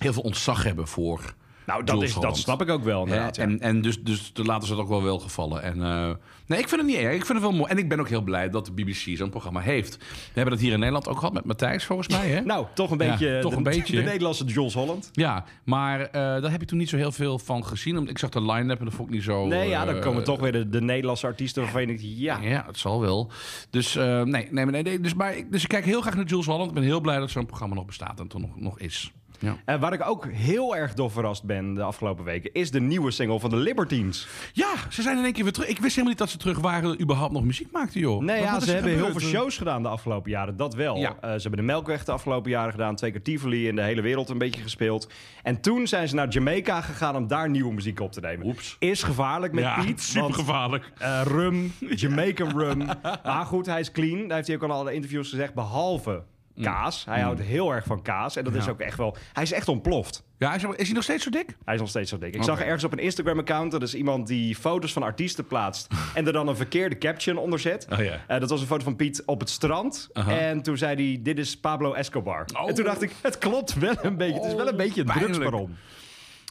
[SPEAKER 3] heel veel ontzag hebben voor...
[SPEAKER 2] Nou, dat,
[SPEAKER 3] Jules
[SPEAKER 2] is, dat
[SPEAKER 3] Holland.
[SPEAKER 2] snap ik ook wel
[SPEAKER 3] Hè,
[SPEAKER 2] inderdaad. ja.
[SPEAKER 3] En, en dus, dus dan laten ze het ook wel wel gevallen. En, eh, nee, ik vind het niet erg. Ik vind het wel mooi. En ik ben ook heel blij dat de BBC zo'n programma heeft. We hebben dat hier in Nederland ook gehad met Matthijs, volgens mij. Hè?
[SPEAKER 2] (laughs) Nou, toch een
[SPEAKER 3] Ja,
[SPEAKER 2] beetje,
[SPEAKER 3] toch
[SPEAKER 2] de,
[SPEAKER 3] een beetje.
[SPEAKER 2] de Nederlandse Jules Holland.
[SPEAKER 3] Ja, maar eh, daar heb je toen niet zo heel veel van gezien. Omdat ik zag de line-up en dat vond ik niet zo...
[SPEAKER 2] Nee, ja, dan
[SPEAKER 3] eh,
[SPEAKER 2] komen toch weer de, de Nederlandse artiesten waarvan je denkt, ja.
[SPEAKER 3] Ja, het zal wel. Dus, eh, nee, nee, nee, nee, dus, maar, ik- dus ik kijk heel graag naar Jules Holland. Ik ben heel blij dat zo'n programma nog bestaat en toch nog, nog is. Ja.
[SPEAKER 2] En waar ik ook heel erg door verrast ben de afgelopen weken, is de nieuwe single van de Libertines.
[SPEAKER 3] ja, ze zijn in één keer weer terug. Ik wist helemaal niet dat ze terug waren, überhaupt nog muziek maakten, joh.
[SPEAKER 2] Nee,
[SPEAKER 3] Wat-
[SPEAKER 2] ja,
[SPEAKER 3] wat is
[SPEAKER 2] ze
[SPEAKER 3] er
[SPEAKER 2] hebben heel
[SPEAKER 3] gebeurd?
[SPEAKER 2] veel shows gedaan de afgelopen jaren, dat wel.
[SPEAKER 3] Ja.
[SPEAKER 2] Eh, ze hebben de Melkweg de afgelopen jaren gedaan, twee keer Tivoli in de hele wereld een beetje gespeeld. En toen zijn ze naar Jamaica gegaan om daar nieuwe muziek op te nemen.
[SPEAKER 3] Oeps.
[SPEAKER 2] Is gevaarlijk met
[SPEAKER 3] Ja,
[SPEAKER 2] Piet, want
[SPEAKER 3] (laughs) supergevaarlijk.
[SPEAKER 2] eh, (laughs) rum, Jamaican rum. Maar goed, hij is clean, daar heeft hij ook al in alle interviews gezegd, behalve
[SPEAKER 3] Mm.
[SPEAKER 2] kaas. Hij houdt heel erg van kaas. En dat is ook echt wel... Hij is echt ontploft.
[SPEAKER 3] Ja, hij is, is hij nog steeds zo dik?
[SPEAKER 2] Hij is nog steeds zo dik. Ik
[SPEAKER 3] Oké.
[SPEAKER 2] zag ergens op een Instagram-account... dat is iemand die foto's van artiesten
[SPEAKER 3] (laughs)
[SPEAKER 2] plaatst... en er dan een verkeerde caption onder zet.
[SPEAKER 3] Oh ja.
[SPEAKER 2] Eh, dat was een foto van Piet op het strand.
[SPEAKER 3] Aha.
[SPEAKER 2] En toen zei hij, dit is Pablo Escobar.
[SPEAKER 3] Oh.
[SPEAKER 2] En toen dacht ik, het klopt wel een beetje. het is wel een beetje het
[SPEAKER 3] pijnlijk.
[SPEAKER 2] drugsbaron.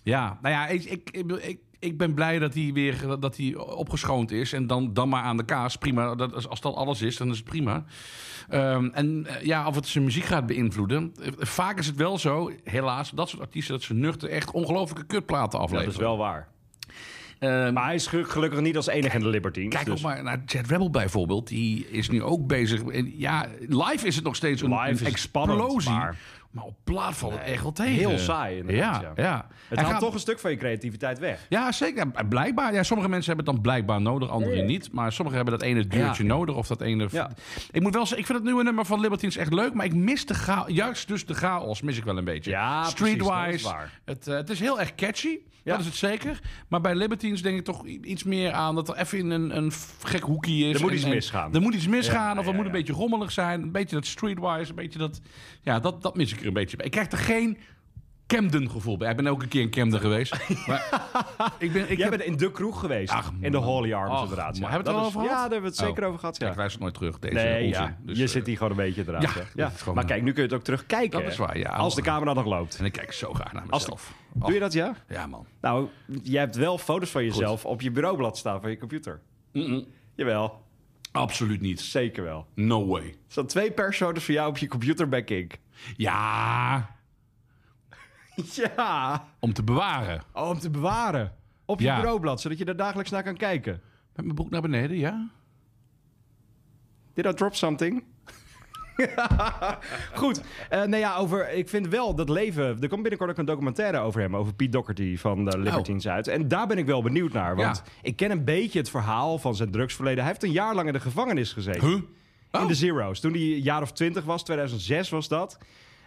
[SPEAKER 3] Ja, nou ja, ik, ik, ik, ik, ik ben blij dat hij weer dat hij opgeschoond is. En dan, dan maar aan de kaas. Prima. Dat, als- als dat alles is, dan is het prima. Ehm, en eh, ja, of het zijn muziek gaat beïnvloeden. Eh, Vaak is het wel zo, helaas, dat soort artiesten... dat ze nuchter echt ongelofelijke kutplaten
[SPEAKER 2] Dat
[SPEAKER 3] afleveren.
[SPEAKER 2] is wel waar.
[SPEAKER 3] Ehm,
[SPEAKER 2] Maar hij is ge- gelukkig niet als enige in de Libertines.
[SPEAKER 3] Kijk
[SPEAKER 2] dus-
[SPEAKER 3] ook maar naar Jet Rebel bijvoorbeeld. Die is nu ook bezig. En ja, live is het nog steeds een,
[SPEAKER 2] Live is
[SPEAKER 3] een
[SPEAKER 2] het
[SPEAKER 3] explosie.
[SPEAKER 2] spannend, maar-
[SPEAKER 3] maar... op plaat valt het echt wel tegen.
[SPEAKER 2] heel saai inderdaad,
[SPEAKER 3] Ja,
[SPEAKER 2] ja.
[SPEAKER 3] ja.
[SPEAKER 2] Het
[SPEAKER 3] Hij
[SPEAKER 2] haalt
[SPEAKER 3] gaat-
[SPEAKER 2] toch een stuk van je creativiteit weg.
[SPEAKER 3] Ja, zeker. Ja, Blijkbaar. Ja, sommige mensen hebben het dan blijkbaar nodig, anderen niet. Maar sommigen hebben dat ene duurtje nodig of dat ene...
[SPEAKER 2] Ja.
[SPEAKER 3] Ik moet wel zeggen, ik vind het nieuwe nummer van Libertines echt leuk, maar ik mis de chaos. Juist dus de chaos mis ik wel een beetje.
[SPEAKER 2] Ja, precies,
[SPEAKER 3] Streetwise.
[SPEAKER 2] dat is waar.
[SPEAKER 3] Het, eh, het is heel erg catchy, dat is het zeker. Maar bij Libertines denk ik toch i- iets meer aan dat er even in een, een f- gek hoekje is.
[SPEAKER 2] Er moet
[SPEAKER 3] en-
[SPEAKER 2] iets
[SPEAKER 3] en-
[SPEAKER 2] misgaan.
[SPEAKER 3] Er moet iets misgaan of
[SPEAKER 2] ja,
[SPEAKER 3] het moet een
[SPEAKER 2] ja.
[SPEAKER 3] beetje rommelig zijn. Een beetje dat streetwise, een beetje dat... Ja, dat, dat mis ik er een beetje bij. Ik krijg er geen... Camden gevoel bij. Ik ben elke keer in Camden
[SPEAKER 2] (laughs)
[SPEAKER 3] geweest. Maar ik ben, ik
[SPEAKER 2] Jij
[SPEAKER 3] heb-
[SPEAKER 2] bent in de kroeg geweest.
[SPEAKER 3] Ach,
[SPEAKER 2] in de
[SPEAKER 3] man.
[SPEAKER 2] Holy Arms
[SPEAKER 3] Ach,
[SPEAKER 2] inderdaad.
[SPEAKER 3] man. Hebben we het
[SPEAKER 2] Dat
[SPEAKER 3] er al
[SPEAKER 2] is-
[SPEAKER 3] over gehad?
[SPEAKER 2] Ja,
[SPEAKER 3] Oh.
[SPEAKER 2] daar hebben we het zeker over gehad.
[SPEAKER 3] Ja,
[SPEAKER 2] Ja.
[SPEAKER 3] ik luister nooit terug, deze
[SPEAKER 2] Nee,
[SPEAKER 3] onzin.
[SPEAKER 2] ja.
[SPEAKER 3] Dus,
[SPEAKER 2] je
[SPEAKER 3] eh,
[SPEAKER 2] zit hier gewoon een beetje eraan.
[SPEAKER 3] ja,
[SPEAKER 2] hè?
[SPEAKER 3] dat is gewoon- eh,
[SPEAKER 2] Maar kijk, nu kun je het ook terugkijken.
[SPEAKER 3] Dat is
[SPEAKER 2] hè?
[SPEAKER 3] waar, ja.
[SPEAKER 2] Als de camera nog loopt.
[SPEAKER 3] En ik kijk zo graag naar
[SPEAKER 2] Als de-
[SPEAKER 3] mezelf. Ach,
[SPEAKER 2] Doe je dat, ja?
[SPEAKER 3] Ja, man.
[SPEAKER 2] Nou, je hebt wel foto's van jezelf op je bureaublad staan van je computer. Jawel,
[SPEAKER 3] Absoluut niet.
[SPEAKER 2] zeker wel.
[SPEAKER 3] No way.
[SPEAKER 2] Er staan twee personen van jou op je computer bij Kink.
[SPEAKER 3] Ja,
[SPEAKER 2] Ja,
[SPEAKER 3] om te bewaren.
[SPEAKER 2] Oh, om te bewaren. Op je
[SPEAKER 3] Ja.
[SPEAKER 2] bureaublad, zodat je er dagelijks naar kan kijken.
[SPEAKER 3] Met mijn broek naar beneden, ja?
[SPEAKER 2] Did I drop something? (laughs) Goed. Eh nou ja, over, ik vind wel dat leven... Er komt binnenkort ook een documentaire over hem. Over Pete Doherty van de Libertines uit. En daar ben ik wel benieuwd naar. Want
[SPEAKER 3] Ja.
[SPEAKER 2] ik ken een beetje het verhaal van zijn drugsverleden. Hij heeft een jaar lang in de gevangenis gezeten.
[SPEAKER 3] Huh?
[SPEAKER 2] In
[SPEAKER 3] Oh.
[SPEAKER 2] de Zero's. Toen hij een jaar of twintig was, 2006 was dat...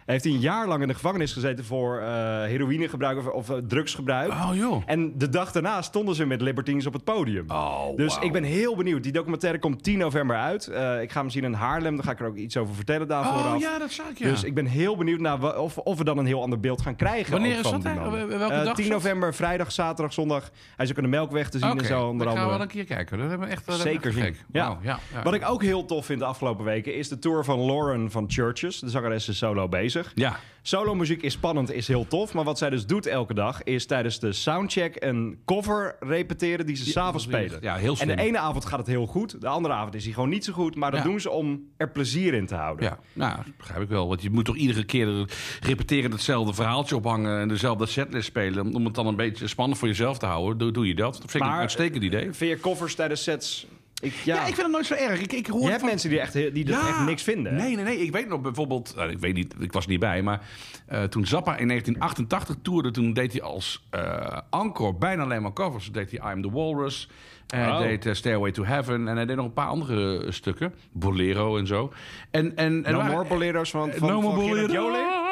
[SPEAKER 2] Heeft hij een jaar lang in de gevangenis gezeten voor eh, heroïnegebruik of, of eh, drugsgebruik.
[SPEAKER 3] Oh, joh.
[SPEAKER 2] En de dag daarna stonden ze met Libertines op het podium.
[SPEAKER 3] Oh,
[SPEAKER 2] dus
[SPEAKER 3] wauw.
[SPEAKER 2] ik ben heel benieuwd. Die documentaire komt 10 november uit. Eh, ik ga hem zien in Haarlem. Dan ga ik er ook iets over vertellen daar
[SPEAKER 3] Oh,
[SPEAKER 2] vooraf.
[SPEAKER 3] ja, dat zag ik, ja.
[SPEAKER 2] Dus ik ben heel benieuwd naar wa- of, of we dan een heel ander beeld gaan krijgen.
[SPEAKER 3] Wanneer
[SPEAKER 2] ook
[SPEAKER 3] is
[SPEAKER 2] van
[SPEAKER 3] dat
[SPEAKER 2] die man.
[SPEAKER 3] eigenlijk? Welke
[SPEAKER 2] Eh,
[SPEAKER 3] dag
[SPEAKER 2] 10
[SPEAKER 3] is dat?
[SPEAKER 2] november, vrijdag, zaterdag, zondag. Hij is ook in de Melkweg te zien
[SPEAKER 3] Oké,
[SPEAKER 2] en zo onder
[SPEAKER 3] dan gaan we wel
[SPEAKER 2] andere.
[SPEAKER 3] een keer kijken. Dat hebben we echt, dat hebben we
[SPEAKER 2] Zeker
[SPEAKER 3] echt
[SPEAKER 2] zien.
[SPEAKER 3] gek. Wauw, ja, ja.
[SPEAKER 2] Wat ik ook heel tof vind de afgelopen weken is de tour van Lauren van Churches. De zangeres is solo bezig.
[SPEAKER 3] Ja.
[SPEAKER 2] Solo muziek is spannend, is heel tof. Maar wat zij dus doet elke dag is tijdens de soundcheck een cover repeteren die ze s'avonds
[SPEAKER 3] dat is
[SPEAKER 2] spelen.
[SPEAKER 3] ja, heel
[SPEAKER 2] en
[SPEAKER 3] slim.
[SPEAKER 2] de ene avond gaat het heel goed, de andere avond is hij gewoon niet zo goed. Maar dat
[SPEAKER 3] Ja.
[SPEAKER 2] doen ze om er plezier in te houden.
[SPEAKER 3] Ja, nou, dat begrijp ik wel. Want je moet toch iedere keer repeteren hetzelfde verhaaltje ophangen... en dezelfde setlist spelen... om het dan een beetje spannend voor jezelf te houden. Doe, doe je dat. Dat vind ik
[SPEAKER 2] Maar- eh,
[SPEAKER 3] een uitstekend idee.
[SPEAKER 2] Vind je covers tijdens sets? Ik, ja.
[SPEAKER 3] Ja. ik vind het nooit zo erg. Ik, ik hoor
[SPEAKER 2] Je hebt
[SPEAKER 3] van-
[SPEAKER 2] mensen die, echt, heel- die er
[SPEAKER 3] Ja.
[SPEAKER 2] echt niks vinden. hè?
[SPEAKER 3] Nee, nee, nee. Ik weet nog bijvoorbeeld... nou, ik weet niet, ik was er niet bij, maar... eh, toen Zappa in 1988 toerde, toen deed hij als eh encore bijna alleen maar covers. Toen deed hij I'm the Walrus. En hij
[SPEAKER 2] Oh.
[SPEAKER 3] deed eh, Stairway to Heaven. En hij deed nog een paar andere eh, stukken. Bolero en zo. En, en, en
[SPEAKER 2] No
[SPEAKER 3] waar-
[SPEAKER 2] more boleros van, van,
[SPEAKER 3] no
[SPEAKER 2] van
[SPEAKER 3] more
[SPEAKER 2] Gerard
[SPEAKER 3] Bolero.
[SPEAKER 2] Joling?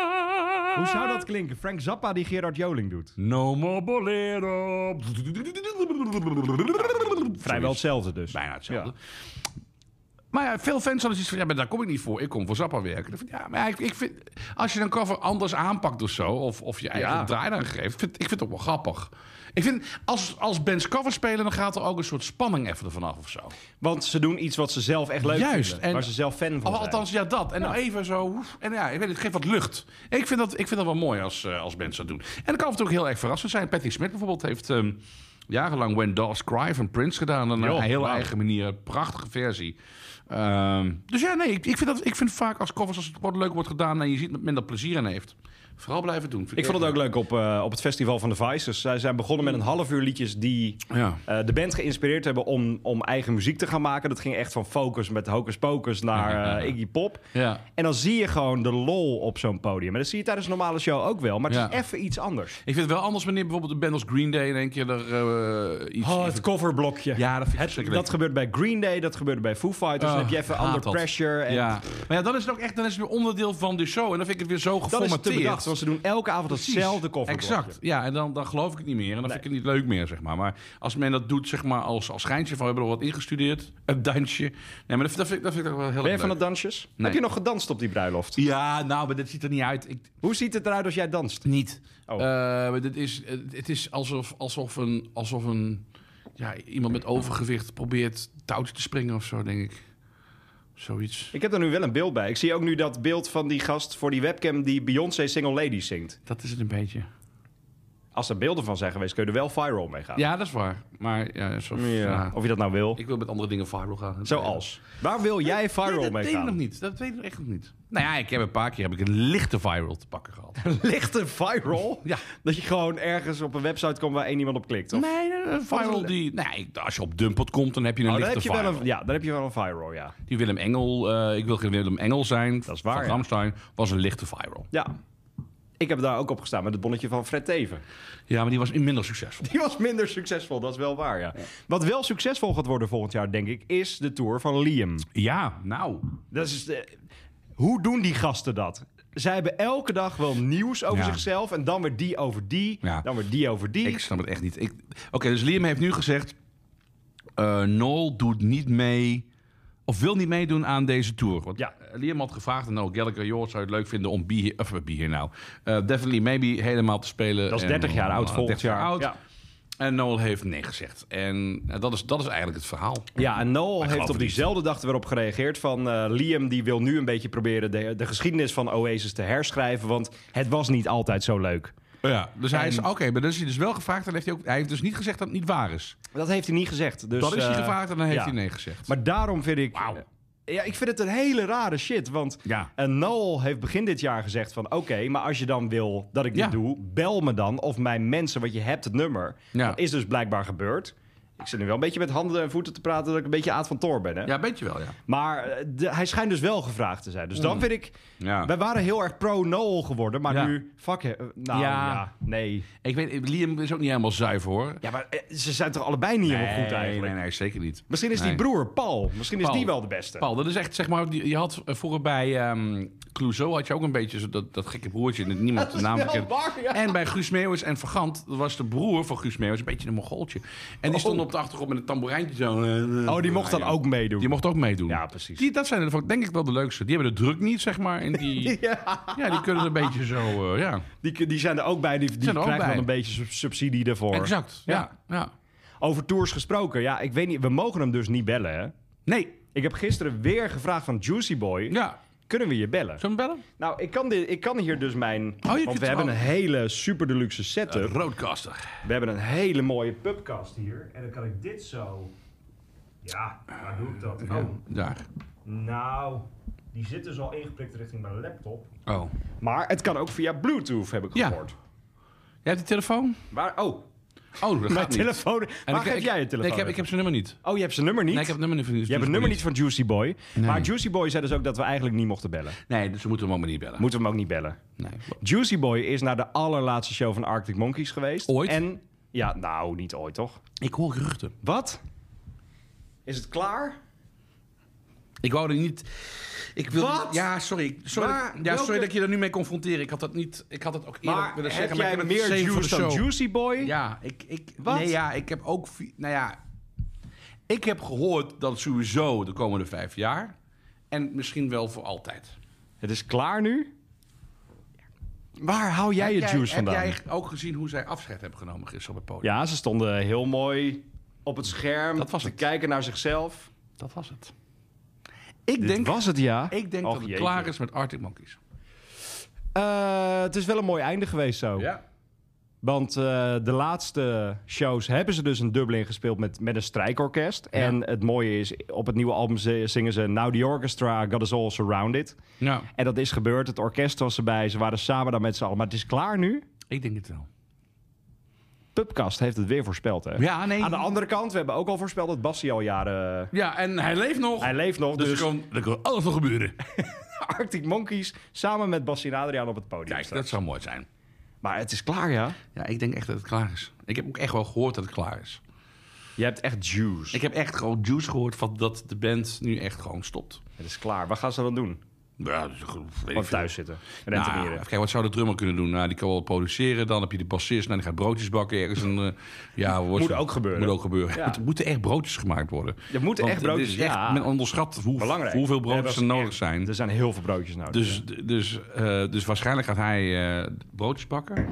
[SPEAKER 2] Hoe zou dat klinken? Frank Zappa die Gerard Joling doet.
[SPEAKER 3] No more Bolero.
[SPEAKER 2] Vrijwel
[SPEAKER 3] Zoiets.
[SPEAKER 2] hetzelfde dus.
[SPEAKER 3] Bijna hetzelfde. Maar ja, veel fans hadden zoiets van, ja, maar daar kom ik niet voor. Ik kom voor Zappa werken. Dan vind ik, Ja, maar ik, ik vind, als je een cover anders aanpakt of zo, of, of je eigen
[SPEAKER 2] Ja.
[SPEAKER 3] draai dan geeft, vind, ik vind het ook wel grappig. Ik vind, als, als bands cover spelen, dan gaat er ook een soort spanning even ervan af of zo.
[SPEAKER 2] Want ze doen iets wat ze zelf echt leuk
[SPEAKER 3] Juist,
[SPEAKER 2] vinden.
[SPEAKER 3] en-
[SPEAKER 2] waar ze zelf fan van
[SPEAKER 3] Of
[SPEAKER 2] zijn.
[SPEAKER 3] Oh, althans, ja, dat. En nou even zo. hoef- En ja, ik weet, het geeft wat lucht. Ik vind dat, ik vind dat wel mooi als, eh, als mensen dat doen. En dat kan natuurlijk heel erg verrassend zijn. Patrick Smith bijvoorbeeld heeft ehm, jarenlang When Dogs Cry van Prince gedaan. En
[SPEAKER 2] Joh,
[SPEAKER 3] een heel
[SPEAKER 2] wauw.
[SPEAKER 3] eigen manier. Een Prachtige versie. Ehm, dus ja, nee, ik, ik vind dat, ik vind vaak als covers, als het wordt leuk wordt gedaan en je ziet dat men dat plezier aan heeft. Vooral blijven doen.
[SPEAKER 2] Ik vond het ook leuk op, eh, op het festival van de Vices. Zij zijn begonnen met een half uur liedjes die
[SPEAKER 3] Ja.
[SPEAKER 2] eh, de band geïnspireerd hebben om, om eigen muziek te gaan maken. Dat ging echt van Focus met Hocus Pocus naar
[SPEAKER 3] (laughs) Ja, ja, ja.
[SPEAKER 2] eh, Iggy Pop.
[SPEAKER 3] Ja.
[SPEAKER 2] En dan zie je gewoon de lol op zo'n podium. En dat zie je tijdens een normale show ook wel. Maar het is
[SPEAKER 3] Ja.
[SPEAKER 2] even iets anders.
[SPEAKER 3] Ik vind het wel anders wanneer bijvoorbeeld de band als Green Day in één keer er eh, iets...
[SPEAKER 2] Oh, het coverblokje.
[SPEAKER 3] ja, dat vind ik verschrikkelijk.
[SPEAKER 2] Dat gebeurt bij Green Day, dat gebeurde bij Foo Fighters. dan
[SPEAKER 3] Oh,
[SPEAKER 2] heb je even
[SPEAKER 3] haat
[SPEAKER 2] under
[SPEAKER 3] dat.
[SPEAKER 2] pressure. En
[SPEAKER 3] Ja. Maar ja, dan is het ook echt dan is het weer onderdeel van de show. En dan vind ik het weer zo
[SPEAKER 2] Dan is het te
[SPEAKER 3] geformateerd.
[SPEAKER 2] bedacht. plaats. Want ze doen elke avond
[SPEAKER 3] Precies.
[SPEAKER 2] hetzelfde kofferblokje.
[SPEAKER 3] Exact. Ja, en dan, dan geloof ik het niet meer. En dan vind ik het niet leuk meer, zeg maar. Maar als men dat doet, zeg maar, als, als schijntje van... we hebben er wat ingestudeerd, een dansje. Nee, maar dat, dat, vind, ik- dat vind ik toch wel heel
[SPEAKER 2] Ben je
[SPEAKER 3] erg
[SPEAKER 2] van de
[SPEAKER 3] leuk.
[SPEAKER 2] dansjes?
[SPEAKER 3] Nee.
[SPEAKER 2] Heb je nog gedanst op die bruiloft?
[SPEAKER 3] Ja, nou, maar dat ziet er niet uit. Ik,
[SPEAKER 2] Hoe ziet het eruit als jij danst?
[SPEAKER 3] niet.
[SPEAKER 2] Oh.
[SPEAKER 3] Eh, maar dit is, het- het is alsof, alsof een... Alsof een ja, iemand met overgewicht probeert touwtje te springen of zo, denk ik. Zoiets.
[SPEAKER 2] Ik heb er nu wel een beeld bij. Ik zie ook nu dat beeld van die gast voor die webcam die Beyoncé Single Lady zingt.
[SPEAKER 3] Dat is het een beetje.
[SPEAKER 2] Als er beelden van zijn geweest, kun je er wel viral mee gaan.
[SPEAKER 3] Ja, dat is waar. Maar ja, zo, ja.
[SPEAKER 2] Of je dat nou wil.
[SPEAKER 3] ik wil met andere dingen viral gaan.
[SPEAKER 2] Zoals. Waar wil jij viral
[SPEAKER 3] nee, dat
[SPEAKER 2] mee
[SPEAKER 3] weet ik nog
[SPEAKER 2] gaan?
[SPEAKER 3] niet. Dat weet ik echt nog niet. Nou ja, ik heb een paar keer heb ik een lichte viral te pakken gehad.
[SPEAKER 2] Lichte (laughs) viral?
[SPEAKER 3] (laughs) Ja.
[SPEAKER 2] Dat je gewoon ergens op een website komt waar één iemand op klikt. Oh, Of?
[SPEAKER 3] Nee, een viral die... Nee, als je op Dumpot komt, dan heb je een
[SPEAKER 2] Oh, dan,
[SPEAKER 3] lichte
[SPEAKER 2] heb je
[SPEAKER 3] viral.
[SPEAKER 2] wel een, ja, dan heb je wel een viral, ja.
[SPEAKER 3] Die Willem Engel, eh, ik wil geen Willem Engel zijn.
[SPEAKER 2] Dat is waar,
[SPEAKER 3] Van
[SPEAKER 2] ja.
[SPEAKER 3] Ramstein was een lichte viral.
[SPEAKER 2] Ja. Ik heb daar ook op gestaan met het bonnetje van Fred Teven.
[SPEAKER 3] Ja, maar die was minder succesvol.
[SPEAKER 2] (laughs) Die was minder succesvol, dat is wel waar, ja. Wat wel succesvol gaat worden volgend jaar, denk ik, is de tour van Liam.
[SPEAKER 3] Ja, nou.
[SPEAKER 2] Dat is, eh, hoe doen die gasten dat? Zij hebben elke dag wel nieuws over
[SPEAKER 3] Ja.
[SPEAKER 2] zichzelf. En dan weer die over die.
[SPEAKER 3] Ja.
[SPEAKER 2] Dan weer die over die.
[SPEAKER 3] Ik snap het echt niet. Ik... Oké, dus Liam heeft nu gezegd... eh Noel doet niet mee... Of wil niet meedoen aan deze tour. Want eh,
[SPEAKER 2] Ja.
[SPEAKER 3] Liam had gevraagd aan Noel Gallagher... joh, zou je het leuk vinden om Be Here... Of Be Here Now. eh, Definitely Maybe helemaal te spelen.
[SPEAKER 2] dat is
[SPEAKER 3] En
[SPEAKER 2] 30 jaar oud volgend
[SPEAKER 3] 30
[SPEAKER 2] jaar.
[SPEAKER 3] oud.
[SPEAKER 2] Ja.
[SPEAKER 3] En Noel heeft nee gezegd. En eh, dat, is, dat is eigenlijk het verhaal.
[SPEAKER 2] Ja, en Noel heeft
[SPEAKER 3] geloof
[SPEAKER 2] op
[SPEAKER 3] het niet.
[SPEAKER 2] diezelfde dag er weer op gereageerd van... eh, Liam die wil nu een beetje proberen de, de geschiedenis van Oasis te herschrijven... want het was niet altijd zo leuk.
[SPEAKER 3] Ja, dus hij is... Oké, maar dan is hij dus wel gevraagd... en heeft hij, ook, hij heeft dus niet gezegd dat het niet waar is.
[SPEAKER 2] Dat heeft hij niet gezegd. Dus,
[SPEAKER 3] dat is hij
[SPEAKER 2] eh,
[SPEAKER 3] gevraagd en dan heeft
[SPEAKER 2] ja.
[SPEAKER 3] hij nee gezegd.
[SPEAKER 2] Maar daarom vind ik...
[SPEAKER 3] Wauw.
[SPEAKER 2] Ja, ik vind het een hele rare shit, want...
[SPEAKER 3] Ja.
[SPEAKER 2] En Noel heeft begin dit jaar gezegd van... oké, maar als je dan wil dat ik dit
[SPEAKER 3] Ja.
[SPEAKER 2] doe, bel me dan. Of mijn mensen, want je hebt het nummer.
[SPEAKER 3] Ja.
[SPEAKER 2] Dat is dus blijkbaar gebeurd. Ik zit nu wel een beetje met handen en voeten te praten... dat ik een beetje Aad van Toor ben, hè?
[SPEAKER 3] Ja, weet je wel, ja.
[SPEAKER 2] Maar eh, de- hij schijnt dus wel gevraagd te zijn. Dus dan vind ik...
[SPEAKER 3] Mm. Ja.
[SPEAKER 2] Wij waren heel erg pro-Noel geworden, maar
[SPEAKER 3] Ja.
[SPEAKER 2] nu... Fuck, he- eh, nou ja,
[SPEAKER 3] Ja.
[SPEAKER 2] nee.
[SPEAKER 3] Ik weet, Liam is ook niet helemaal zuiver, hoor.
[SPEAKER 2] Ja, maar eh, ze zijn toch allebei niet helemaal goed eigenlijk?
[SPEAKER 3] Nee, nee, zeker niet.
[SPEAKER 2] Misschien is
[SPEAKER 3] Nee.
[SPEAKER 2] die broer Paul, misschien is
[SPEAKER 3] Paul.
[SPEAKER 2] die wel de beste.
[SPEAKER 3] Paul, dat is echt, zeg maar, die- je had eh, vroeger bij ehm Clouseau had je ook een beetje zo dat, dat gekke broertje, dat (laughs) niemand de naam
[SPEAKER 2] wel
[SPEAKER 3] kent.
[SPEAKER 2] waar, ja.
[SPEAKER 3] En bij Guus Meeuwis en Vergant, dat was de broer van Guus Meeuwis, een beetje een mongooltje. En die stond op de achtergrond met een tamboerijntje zo. eh,
[SPEAKER 2] Oh, die mocht dan ook meedoen.
[SPEAKER 3] Die mocht ook meedoen.
[SPEAKER 2] Ja, precies.
[SPEAKER 3] Die, dat zijn er van- denk ik wel de leukste. Die hebben de druk niet, zeg maar. En (laughs) die, ja. die kunnen een beetje zo, eh, ja.
[SPEAKER 2] Die, die zijn er ook bij, die, die
[SPEAKER 3] Zijn er ook
[SPEAKER 2] krijgen dan
[SPEAKER 3] bij.
[SPEAKER 2] een beetje sub- subsidie daarvoor.
[SPEAKER 3] Exact, ja. ja.
[SPEAKER 2] Over tours gesproken, ja, ik weet niet, we mogen hem dus niet bellen, hè?
[SPEAKER 3] Nee,
[SPEAKER 2] Ik heb gisteren weer gevraagd van Juicy Boy,
[SPEAKER 3] ja.
[SPEAKER 2] kunnen we je bellen?
[SPEAKER 3] Zullen we hem bellen?
[SPEAKER 2] Nou, ik kan, dit, ik kan hier dus mijn... want
[SPEAKER 3] kunt-
[SPEAKER 2] we hebben
[SPEAKER 3] oh.
[SPEAKER 2] een hele super deluxe setup.
[SPEAKER 3] Roadcaster.
[SPEAKER 2] We hebben een hele mooie pubcast hier. En dan kan ik dit zo... Ja, waar doe ik dat? Oh,
[SPEAKER 3] Daar.
[SPEAKER 2] nou, die zit dus al ingeprikt richting mijn laptop.
[SPEAKER 3] Oh.
[SPEAKER 2] Maar het kan ook via Bluetooth, heb ik
[SPEAKER 3] Ja.
[SPEAKER 2] gehoord.
[SPEAKER 3] Jij hebt de telefoon?
[SPEAKER 2] Waar, oh,
[SPEAKER 3] Oh, dat
[SPEAKER 2] mijn
[SPEAKER 3] gaat niet.
[SPEAKER 2] telefoon...
[SPEAKER 3] En
[SPEAKER 2] Waar
[SPEAKER 3] ik-
[SPEAKER 2] geef
[SPEAKER 3] ik-
[SPEAKER 2] jij je telefoon?
[SPEAKER 3] Nee, ik heb, ik heb zijn nummer niet.
[SPEAKER 2] Oh, je hebt zijn nummer niet?
[SPEAKER 3] Nee, ik heb het nummer niet van
[SPEAKER 2] Je hebt het nummer niet van Juicy Boy. Maar Juicy Boy zei dus ook dat we eigenlijk niet mochten bellen.
[SPEAKER 3] Nee, dus we moeten hem ook maar niet bellen.
[SPEAKER 2] Moeten we hem ook niet bellen.
[SPEAKER 3] Nee.
[SPEAKER 2] Juicy Boy is naar de allerlaatste show van Arctic Monkeys geweest.
[SPEAKER 3] Ooit?
[SPEAKER 2] En, ja, nou, niet ooit toch?
[SPEAKER 3] Ik hoor geruchten.
[SPEAKER 2] Wat? Is het klaar?
[SPEAKER 3] Ik wou er niet. Ik wil.
[SPEAKER 2] Wat?
[SPEAKER 3] Ja, sorry. ik- sorry
[SPEAKER 2] Maar
[SPEAKER 3] dat- ja,
[SPEAKER 2] welke-
[SPEAKER 3] sorry dat ik je er nu mee confronteer. Ik had dat niet. Ik had dat ook eerder
[SPEAKER 2] Maar
[SPEAKER 3] willen
[SPEAKER 2] heb
[SPEAKER 3] zeggen.
[SPEAKER 2] jij
[SPEAKER 3] maar ik heb het
[SPEAKER 2] meer
[SPEAKER 3] saved voor
[SPEAKER 2] juice
[SPEAKER 3] de
[SPEAKER 2] dan
[SPEAKER 3] show.
[SPEAKER 2] Juicy Boy?
[SPEAKER 3] Ja, ik. ik
[SPEAKER 2] Wat?
[SPEAKER 3] Nee, ja, ik heb ook. vi- Nou ja. Ik heb gehoord dat sowieso de komende vijf jaar. En misschien wel voor altijd.
[SPEAKER 2] Het is klaar nu? Waar hou jij
[SPEAKER 3] Heb
[SPEAKER 2] je juice
[SPEAKER 3] Heb
[SPEAKER 2] vandaan?
[SPEAKER 3] jij ook gezien hoe zij afscheid hebben genomen gisteren op het podium?
[SPEAKER 2] Ja, ze stonden heel mooi op het scherm
[SPEAKER 3] Dat was
[SPEAKER 2] te
[SPEAKER 3] het.
[SPEAKER 2] kijken naar zichzelf.
[SPEAKER 3] Dat was het. Ik
[SPEAKER 2] Dit
[SPEAKER 3] denk,
[SPEAKER 2] was het, ja.
[SPEAKER 3] ik denk
[SPEAKER 2] Och,
[SPEAKER 3] dat het
[SPEAKER 2] jeetje.
[SPEAKER 3] klaar is met Arctic Monkeys.
[SPEAKER 2] Eh, het is wel een mooi einde geweest zo.
[SPEAKER 3] Ja.
[SPEAKER 2] Want eh, de laatste shows hebben ze dus een Dublin gespeeld met, met een strijkorkest. En het mooie is, op het nieuwe album ze- zingen ze... Now the orchestra got us all surrounded.
[SPEAKER 3] Ja.
[SPEAKER 2] En dat is gebeurd. Het orkest was erbij. Ze waren samen daar met z'n allen. Maar het is klaar nu.
[SPEAKER 3] Ik denk het wel.
[SPEAKER 2] Pubcast heeft het weer voorspeld, hè?
[SPEAKER 3] Ja, nee.
[SPEAKER 2] Aan de andere kant, we hebben ook al voorspeld dat Bassie al jaren...
[SPEAKER 3] Ja, en hij leeft nog.
[SPEAKER 2] Hij leeft nog,
[SPEAKER 3] dus
[SPEAKER 2] dus,
[SPEAKER 3] Kan, er kan alles nog
[SPEAKER 2] (laughs)
[SPEAKER 3] gebeuren.
[SPEAKER 2] eh, Arctic Monkeys samen met Bassie en Adriaan op het podium
[SPEAKER 3] Kijk,
[SPEAKER 2] staan.
[SPEAKER 3] dat zou mooi zijn.
[SPEAKER 2] Maar het is klaar, ja?
[SPEAKER 3] Ja, ik denk echt dat het klaar is. Ik heb ook echt wel gehoord dat het klaar is.
[SPEAKER 2] Je hebt echt juice.
[SPEAKER 3] Ik heb echt gewoon juice gehoord van dat de band nu echt gewoon stopt.
[SPEAKER 2] Het is klaar. Wat gaan ze dan doen?
[SPEAKER 3] Ja, dat is goed. Weet ik
[SPEAKER 2] Gewoon
[SPEAKER 3] veel.
[SPEAKER 2] thuis zitten.
[SPEAKER 3] Nou,
[SPEAKER 2] Rentenieren.
[SPEAKER 3] even kijken, wat zou de drummer kunnen doen? Nou, die kan wel produceren. Dan heb je de bassist. Nou, die gaat broodjes bakken ergens. En, eh, ja, wordt-
[SPEAKER 2] Moet ook gebeuren.
[SPEAKER 3] Moet ook gebeuren.
[SPEAKER 2] Ja.
[SPEAKER 3] (laughs) Het moeten echt broodjes gemaakt worden.
[SPEAKER 2] Er moeten
[SPEAKER 3] Want
[SPEAKER 2] echt broodjes,
[SPEAKER 3] het is echt-
[SPEAKER 2] ja.
[SPEAKER 3] Men onderschat hoe,
[SPEAKER 2] Belangrijk.
[SPEAKER 3] hoeveel
[SPEAKER 2] Ja,
[SPEAKER 3] broodjes
[SPEAKER 2] dat
[SPEAKER 3] er
[SPEAKER 2] is
[SPEAKER 3] nodig
[SPEAKER 2] echt-
[SPEAKER 3] zijn.
[SPEAKER 2] Er zijn heel veel broodjes nodig.
[SPEAKER 3] Dus, dus, eh, dus waarschijnlijk gaat hij eh broodjes bakken.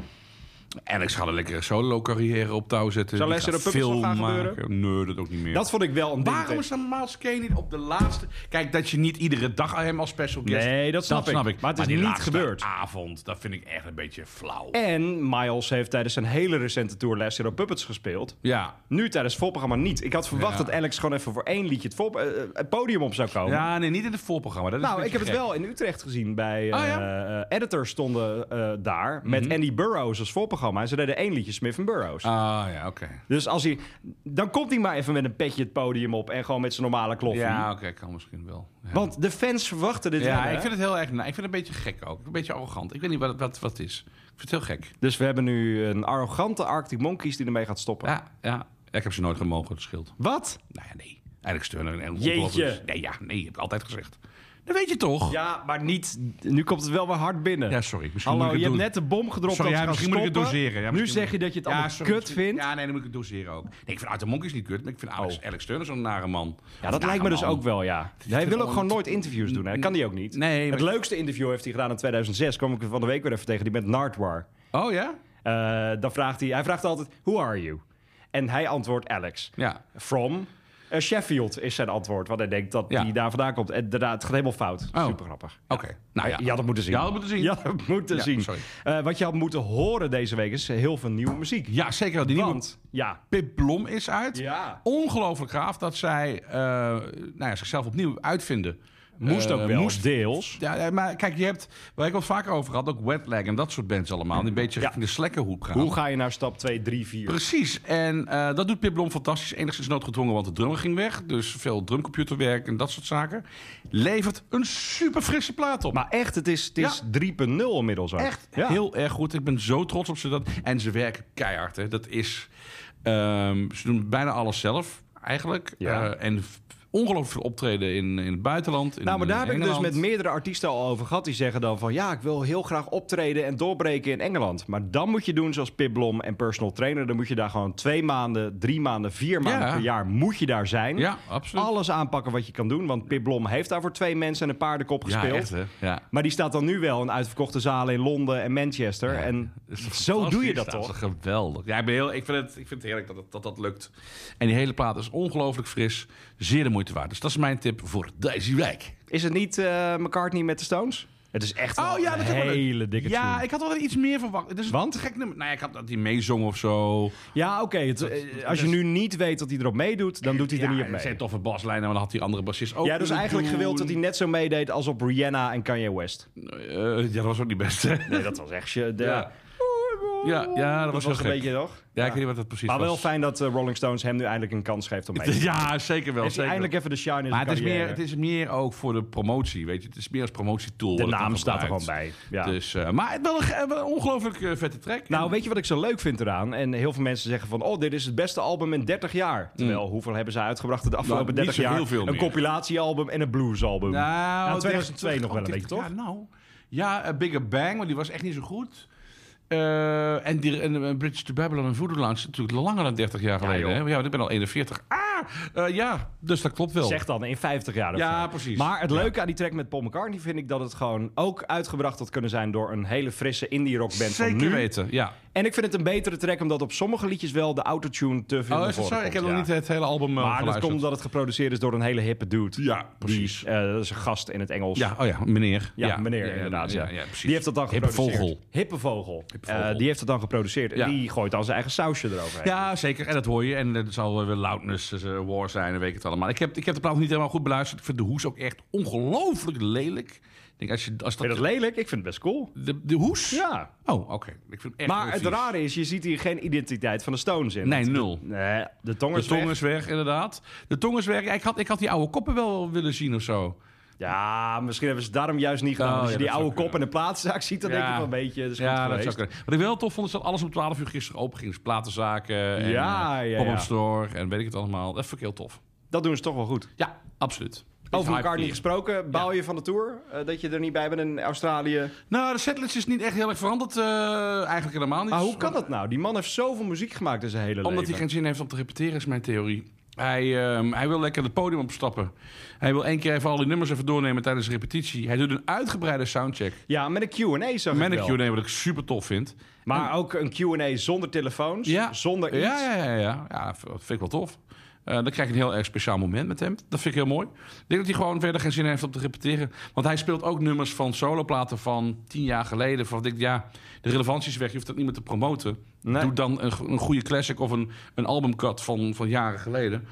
[SPEAKER 3] Alex gaat een lekkere solo-carrière op touw zetten.
[SPEAKER 2] Zou
[SPEAKER 3] Die
[SPEAKER 2] Lester
[SPEAKER 3] gaat
[SPEAKER 2] de Puppets
[SPEAKER 3] film
[SPEAKER 2] nog gaan
[SPEAKER 3] maken. Nee, dat ook niet meer.
[SPEAKER 2] dat vond ik wel een ding.
[SPEAKER 3] Waarom is dan Miles Kane niet op de laatste... Kijk, dat je niet iedere dag aan hem als special guest...
[SPEAKER 2] Nee, dat snap ik. Maar het is
[SPEAKER 3] die
[SPEAKER 2] niet
[SPEAKER 3] laatste
[SPEAKER 2] gebeurd.
[SPEAKER 3] avond, dat vind ik echt een beetje flauw.
[SPEAKER 2] En Miles heeft tijdens zijn hele recente tour Last Hero Puppets gespeeld.
[SPEAKER 3] Ja.
[SPEAKER 2] Nu tijdens het voorprogramma niet. Ik had verwacht
[SPEAKER 3] Ja.
[SPEAKER 2] dat Alex gewoon even voor één liedje het, voor, eh, het podium op zou komen.
[SPEAKER 3] ja, nee, niet in het voorprogramma. Dat is
[SPEAKER 2] Nou,
[SPEAKER 3] een
[SPEAKER 2] ik heb
[SPEAKER 3] beetje
[SPEAKER 2] het
[SPEAKER 3] gek.
[SPEAKER 2] wel in Utrecht gezien bij eh
[SPEAKER 3] Ah, ja? Mhm.
[SPEAKER 2] eh, editors stonden eh, daar met Andy Burroughs als voorprogramma. En ze deden één liedje Smith en Burroughs.
[SPEAKER 3] Ah, ja, oké.
[SPEAKER 2] Dus als hij, dan komt hij maar even met een petje het podium op en gewoon met zijn normale kloffie.
[SPEAKER 3] Ja, oké, kan misschien wel. Ja.
[SPEAKER 2] Want de fans verwachten dit
[SPEAKER 3] ja,
[SPEAKER 2] wel, hè?
[SPEAKER 3] ik vind het heel erg... na- ik vind het een beetje gek ook. Een beetje arrogant. Ik weet niet wat, wat, wat het is. Ik vind het heel gek.
[SPEAKER 2] Dus we hebben nu een arrogante Arctic Monkeys die ermee gaat stoppen.
[SPEAKER 3] Ja, ja. Ik heb ze nooit gemogen, het scheelt.
[SPEAKER 2] Wat?
[SPEAKER 3] Nou ja, nee. Eigenlijk steunen en
[SPEAKER 2] Jeetje.
[SPEAKER 3] ongelooflijk- Nee, ja, nee, heb ik altijd gezegd. Dat weet je toch?
[SPEAKER 2] Ja, maar niet. Nu komt het wel weer hard binnen.
[SPEAKER 3] Ja, sorry. Misschien
[SPEAKER 2] Hallo,
[SPEAKER 3] moet ik
[SPEAKER 2] je
[SPEAKER 3] het
[SPEAKER 2] hebt
[SPEAKER 3] doen.
[SPEAKER 2] net de bom gedropt.
[SPEAKER 3] Sorry,
[SPEAKER 2] dat
[SPEAKER 3] ja,
[SPEAKER 2] ze gaan
[SPEAKER 3] misschien moet ik het
[SPEAKER 2] stoppen.
[SPEAKER 3] doseren. Ja,
[SPEAKER 2] nu
[SPEAKER 3] misschien
[SPEAKER 2] zeg je
[SPEAKER 3] moet-
[SPEAKER 2] dat je het
[SPEAKER 3] Ja,
[SPEAKER 2] allemaal
[SPEAKER 3] sorry,
[SPEAKER 2] kut
[SPEAKER 3] misschien-
[SPEAKER 2] vindt. Ja,
[SPEAKER 3] Ja, nee, dan moet ik het doseren ook. Nee, ik vind Arthur Monk is niet kut, maar ik vind Alex,
[SPEAKER 2] Oh.
[SPEAKER 3] Alex Turner zo'n nare man.
[SPEAKER 2] dat
[SPEAKER 3] Nare
[SPEAKER 2] lijkt me dus
[SPEAKER 3] nou, man.
[SPEAKER 2] ook wel, ja. Hij wil ook gewoon nooit interviews doen. Hè. Dat kan hij ook niet.
[SPEAKER 3] Nee,
[SPEAKER 2] het
[SPEAKER 3] maar-
[SPEAKER 2] leukste interview heeft hij gedaan in 2006. Kwam ik er van de week weer even tegen. Die met Nardwar.
[SPEAKER 3] Oh ja?
[SPEAKER 2] Eh, dan vraagt hij... Hij vraagt altijd, who are you? En hij antwoordt Alex.
[SPEAKER 3] Ja.
[SPEAKER 2] From eh, Sheffield is zijn antwoord. Want hij denkt dat
[SPEAKER 3] Ja.
[SPEAKER 2] hij daar vandaan komt. En daarna, het gaat helemaal fout.
[SPEAKER 3] Oh.
[SPEAKER 2] Super grappig.
[SPEAKER 3] Oké. Nou ja.
[SPEAKER 2] Ah, Je had het moeten zien.
[SPEAKER 3] Je had het moeten zien.
[SPEAKER 2] Je had het moeten
[SPEAKER 3] Ja,
[SPEAKER 2] zien.
[SPEAKER 3] sorry.
[SPEAKER 2] Eh, wat je had moeten horen deze week is heel veel nieuwe muziek.
[SPEAKER 3] Ja, zeker wel. Die nieuwe
[SPEAKER 2] Want, ja,
[SPEAKER 3] Pip Blom is uit.
[SPEAKER 2] Ja.
[SPEAKER 3] Ongelooflijk gaaf dat zij eh, nou ja, zichzelf opnieuw uitvinden.
[SPEAKER 2] moest
[SPEAKER 3] Eh,
[SPEAKER 2] ook wel.
[SPEAKER 3] Moest
[SPEAKER 2] deels.
[SPEAKER 3] Ja, ja, maar kijk, je hebt, waar ik het vaker over had, ook wetlag en dat soort bands allemaal. Die een beetje
[SPEAKER 2] Ja.
[SPEAKER 3] in de slekkenhoek gaan.
[SPEAKER 2] Hoe ga je naar stap 2, 3, 4?
[SPEAKER 3] Precies, en eh, dat doet Pip Blom fantastisch. Enigszins noodgedwongen, want de drummer ging weg. Dus veel drumcomputerwerk en dat soort zaken. Levert een super frisse plaat op.
[SPEAKER 2] Maar echt, het is, het is
[SPEAKER 3] Ja.
[SPEAKER 2] 3.0 inmiddels ook.
[SPEAKER 3] echt
[SPEAKER 2] Ja.
[SPEAKER 3] heel erg goed. Ik ben zo trots op ze. Dat, en ze werken keihard. Hè. Dat is, ehm, ze doen bijna alles zelf, eigenlijk.
[SPEAKER 2] Ja.
[SPEAKER 3] Eh, en f- ongelooflijk veel optreden in, in het buitenland. In
[SPEAKER 2] Nou, maar daar heb ik dus
[SPEAKER 3] Engeland.
[SPEAKER 2] met meerdere artiesten al over gehad. Die zeggen dan van, ja, ik wil heel graag optreden en doorbreken in Engeland. Maar dan moet je doen zoals Pip Blom en personal trainer. Dan moet je daar gewoon twee maanden, drie maanden, vier maanden
[SPEAKER 3] Ja.
[SPEAKER 2] per jaar moet je daar zijn.
[SPEAKER 3] Ja, absoluut.
[SPEAKER 2] Alles aanpakken wat je kan doen. Want Pip Blom heeft daar voor twee mensen en een paardenkop
[SPEAKER 3] ja,
[SPEAKER 2] gespeeld.
[SPEAKER 3] echt, hè? Ja.
[SPEAKER 2] Maar die staat dan nu wel in uitverkochte zalen in Londen en Manchester. en
[SPEAKER 3] Oh,
[SPEAKER 2] zo doe je dat
[SPEAKER 3] Fantastisch, nou,
[SPEAKER 2] toch?
[SPEAKER 3] is geweldig. Ja, ik, ben heel, ik, vind het, ik vind het heerlijk dat, het- dat dat lukt. En die hele plaat is ongelooflijk fris. Zeer de moeite waard. Dus dat is mijn tip voor deze week.
[SPEAKER 2] Is het niet eh, McCartney met de Stones? Het is
[SPEAKER 3] Oh,
[SPEAKER 2] echt wel een hele dikke
[SPEAKER 3] Ja,
[SPEAKER 2] tune.
[SPEAKER 3] ik had wel iets meer verwacht. Het is
[SPEAKER 2] Want?
[SPEAKER 3] een te gek nummer. Nou ja, ik had dat hij meezong of zo.
[SPEAKER 2] Ja, oké. het- eh, als je nu niet weet dat hij erop meedoet, dan doet hij er
[SPEAKER 3] ja,
[SPEAKER 2] niet op
[SPEAKER 3] Er zijn
[SPEAKER 2] mee.
[SPEAKER 3] toffe baslijnen, maar dan had die andere bassist ook
[SPEAKER 2] Ja, dus
[SPEAKER 3] kunnen
[SPEAKER 2] eigenlijk
[SPEAKER 3] doen.
[SPEAKER 2] gewild dat hij net zo meedeed als op Rihanna en Kanye West.
[SPEAKER 3] Eh, ja, dat was ook niet best. hè?
[SPEAKER 2] Nee, dat was echt... je- De...
[SPEAKER 3] Ja. Ja, ja, dat was
[SPEAKER 2] was
[SPEAKER 3] heel
[SPEAKER 2] een
[SPEAKER 3] gek.
[SPEAKER 2] beetje, toch?
[SPEAKER 3] Ja, ik weet niet wat dat precies
[SPEAKER 2] Maar wel
[SPEAKER 3] was.
[SPEAKER 2] fijn dat eh, Rolling Stones hem nu eindelijk een kans geeft om mee te doen.
[SPEAKER 3] (laughs) Ja, zeker wel.
[SPEAKER 2] Heeft hij
[SPEAKER 3] Zeker.
[SPEAKER 2] eindelijk even de shine in zijn
[SPEAKER 3] Maar het is,
[SPEAKER 2] carrière.
[SPEAKER 3] meer, het is meer ook voor de promotie, weet je. Het is meer als promotietool.
[SPEAKER 2] De
[SPEAKER 3] dat het
[SPEAKER 2] naam
[SPEAKER 3] dan
[SPEAKER 2] staat er gewoon
[SPEAKER 3] gebruikt.
[SPEAKER 2] bij. Ja.
[SPEAKER 3] Dus, eh, maar het wel een, ge- wel een ongelooflijk eh, vette track.
[SPEAKER 2] Nou, weet je wat ik zo leuk vind eraan? En heel veel mensen zeggen van, oh, dit is het beste album in 30 jaar. Terwijl, hoeveel hebben ze uitgebracht de afgelopen
[SPEAKER 3] Mm. Nou,
[SPEAKER 2] 30
[SPEAKER 3] niet zo
[SPEAKER 2] jaar?
[SPEAKER 3] heel veel
[SPEAKER 2] een
[SPEAKER 3] meer.
[SPEAKER 2] compilatiealbum en een bluesalbum.
[SPEAKER 3] Nou,
[SPEAKER 2] Ja, 2002
[SPEAKER 3] 30
[SPEAKER 2] nog wel een
[SPEAKER 3] oh,
[SPEAKER 2] beetje,
[SPEAKER 3] 30
[SPEAKER 2] toch?
[SPEAKER 3] Ja, nou. Ja, eh, Bigger Bang, maar die was echt niet zo goed. Eh, en, die, en eh, Bridge to Babylon en Voodoo Lounge is natuurlijk langer dan 30 jaar geleden.
[SPEAKER 2] joh.
[SPEAKER 3] hè? Ja, want ik ben al 41. Ah, eh, ja, dus dat klopt wel.
[SPEAKER 2] Zeg dan, in 50 jaar of
[SPEAKER 3] Ja,
[SPEAKER 2] zo.
[SPEAKER 3] precies.
[SPEAKER 2] Maar het leuke aan die track met Paul McCartney vind ik dat het gewoon ook uitgebracht had kunnen zijn door een hele frisse indie rock band
[SPEAKER 3] Zeker
[SPEAKER 2] van nu.
[SPEAKER 3] weten, eh, ja.
[SPEAKER 2] En ik vind het een betere track omdat op sommige liedjes wel de autotune te veel
[SPEAKER 3] Oh,
[SPEAKER 2] naar
[SPEAKER 3] is dat
[SPEAKER 2] voren
[SPEAKER 3] zo? Ik heb
[SPEAKER 2] komt,
[SPEAKER 3] nog
[SPEAKER 2] ja.
[SPEAKER 3] niet het hele album eh,
[SPEAKER 2] Maar dat
[SPEAKER 3] geluisterd.
[SPEAKER 2] komt omdat het geproduceerd is door een hele hippe dude.
[SPEAKER 3] Ja, precies.
[SPEAKER 2] Die, eh, dat is een gast in het Engels.
[SPEAKER 3] Ja, oh ja, meneer.
[SPEAKER 2] Ja, meneer inderdaad. Ja.
[SPEAKER 3] precies.
[SPEAKER 2] Die heeft dat dan
[SPEAKER 3] Hippe
[SPEAKER 2] geproduceerd.
[SPEAKER 3] vogel.
[SPEAKER 2] Hippe vogel.
[SPEAKER 3] vogel.
[SPEAKER 2] Eh, die heeft dat dan geproduceerd. En
[SPEAKER 3] Ja.
[SPEAKER 2] die gooit dan zijn eigen sausje eroverheen.
[SPEAKER 3] Ja, zeker. En dat hoor je. En eh, het zal wel weer loudness eh, war zijn en weet ik het allemaal. Ik heb, ik heb de plaat nog niet helemaal goed beluisterd. Ik vind de hoes ook echt ongelooflijk lelijk. Ik denk, als je, als dat,
[SPEAKER 2] Vind je dat lelijk? Ik vind het best cool.
[SPEAKER 3] de, de hoes?
[SPEAKER 2] Ja.
[SPEAKER 3] Oh, oké. Ik vind hem echt
[SPEAKER 2] Maar
[SPEAKER 3] heel
[SPEAKER 2] het
[SPEAKER 3] vies.
[SPEAKER 2] rare is, je ziet hier geen identiteit van de Stones in.
[SPEAKER 3] Nee,
[SPEAKER 2] Want-
[SPEAKER 3] nul.
[SPEAKER 2] Nee, de tong
[SPEAKER 3] De
[SPEAKER 2] is
[SPEAKER 3] tong
[SPEAKER 2] weg.
[SPEAKER 3] is weg, inderdaad. De tong is weg. Ja, Ik had, ik had die oude koppen wel willen zien of zo.
[SPEAKER 2] Ja, misschien hebben ze het daarom juist niet gedaan.
[SPEAKER 3] Oh,
[SPEAKER 2] Want als
[SPEAKER 3] ja,
[SPEAKER 2] je die
[SPEAKER 3] dat
[SPEAKER 2] oude
[SPEAKER 3] zou
[SPEAKER 2] kop in de plaatszaak ziet, dan denk je van een beetje... Dat is goed
[SPEAKER 3] ja, dat
[SPEAKER 2] geweest.
[SPEAKER 3] zou kunnen. Wat ik wel tof vond, is dat alles om 12 uur gisteren open ging. Dus platenzaken en
[SPEAKER 2] Ja,
[SPEAKER 3] eh,
[SPEAKER 2] ja,
[SPEAKER 3] pop-up
[SPEAKER 2] ja.
[SPEAKER 3] store en weet ik het allemaal. Dat vond ik heel tof.
[SPEAKER 2] Dat doen ze toch wel goed.
[SPEAKER 3] Ja, absoluut.
[SPEAKER 2] Oké, Over
[SPEAKER 3] hype
[SPEAKER 2] elkaar niet
[SPEAKER 3] hier.
[SPEAKER 2] gesproken. Baal je van de tour? eh, dat je er niet bij bent in Australië?
[SPEAKER 3] Nou, de setlist is niet echt heel erg veranderd. eh, eigenlijk helemaal niet.
[SPEAKER 2] Maar hoe kan dat nou? Die man heeft zoveel muziek gemaakt in zijn hele
[SPEAKER 3] Omdat hij
[SPEAKER 2] leven.
[SPEAKER 3] geen zin heeft om te repeteren, is mijn theorie. Hij, ehm, hij wil lekker het podium opstappen. Hij wil één keer even al die nummers even doornemen tijdens de repetitie. Hij doet een uitgebreide soundcheck.
[SPEAKER 2] Ja, met een Q&A zag
[SPEAKER 3] Met
[SPEAKER 2] ik
[SPEAKER 3] een
[SPEAKER 2] wel.
[SPEAKER 3] Q&A, wat ik super tof vind.
[SPEAKER 2] Maar ook een Q&A zonder telefoons, zonder iets.
[SPEAKER 3] Ja, ja, ja, ja. ja, dat vind ik wel tof. Eh, dan krijg je een heel erg speciaal moment met hem. Dat vind ik heel mooi. Ik denk dat hij gewoon verder geen zin heeft om te repeteren. Want hij speelt ook nummers van soloplaten van tien jaar geleden. Van, ik denk, ja, de relevantie is weg. Je hoeft dat niet meer te promoten.
[SPEAKER 2] Nee.
[SPEAKER 3] Doe dan een, go- een goede classic of een, een albumcut van, van jaren geleden.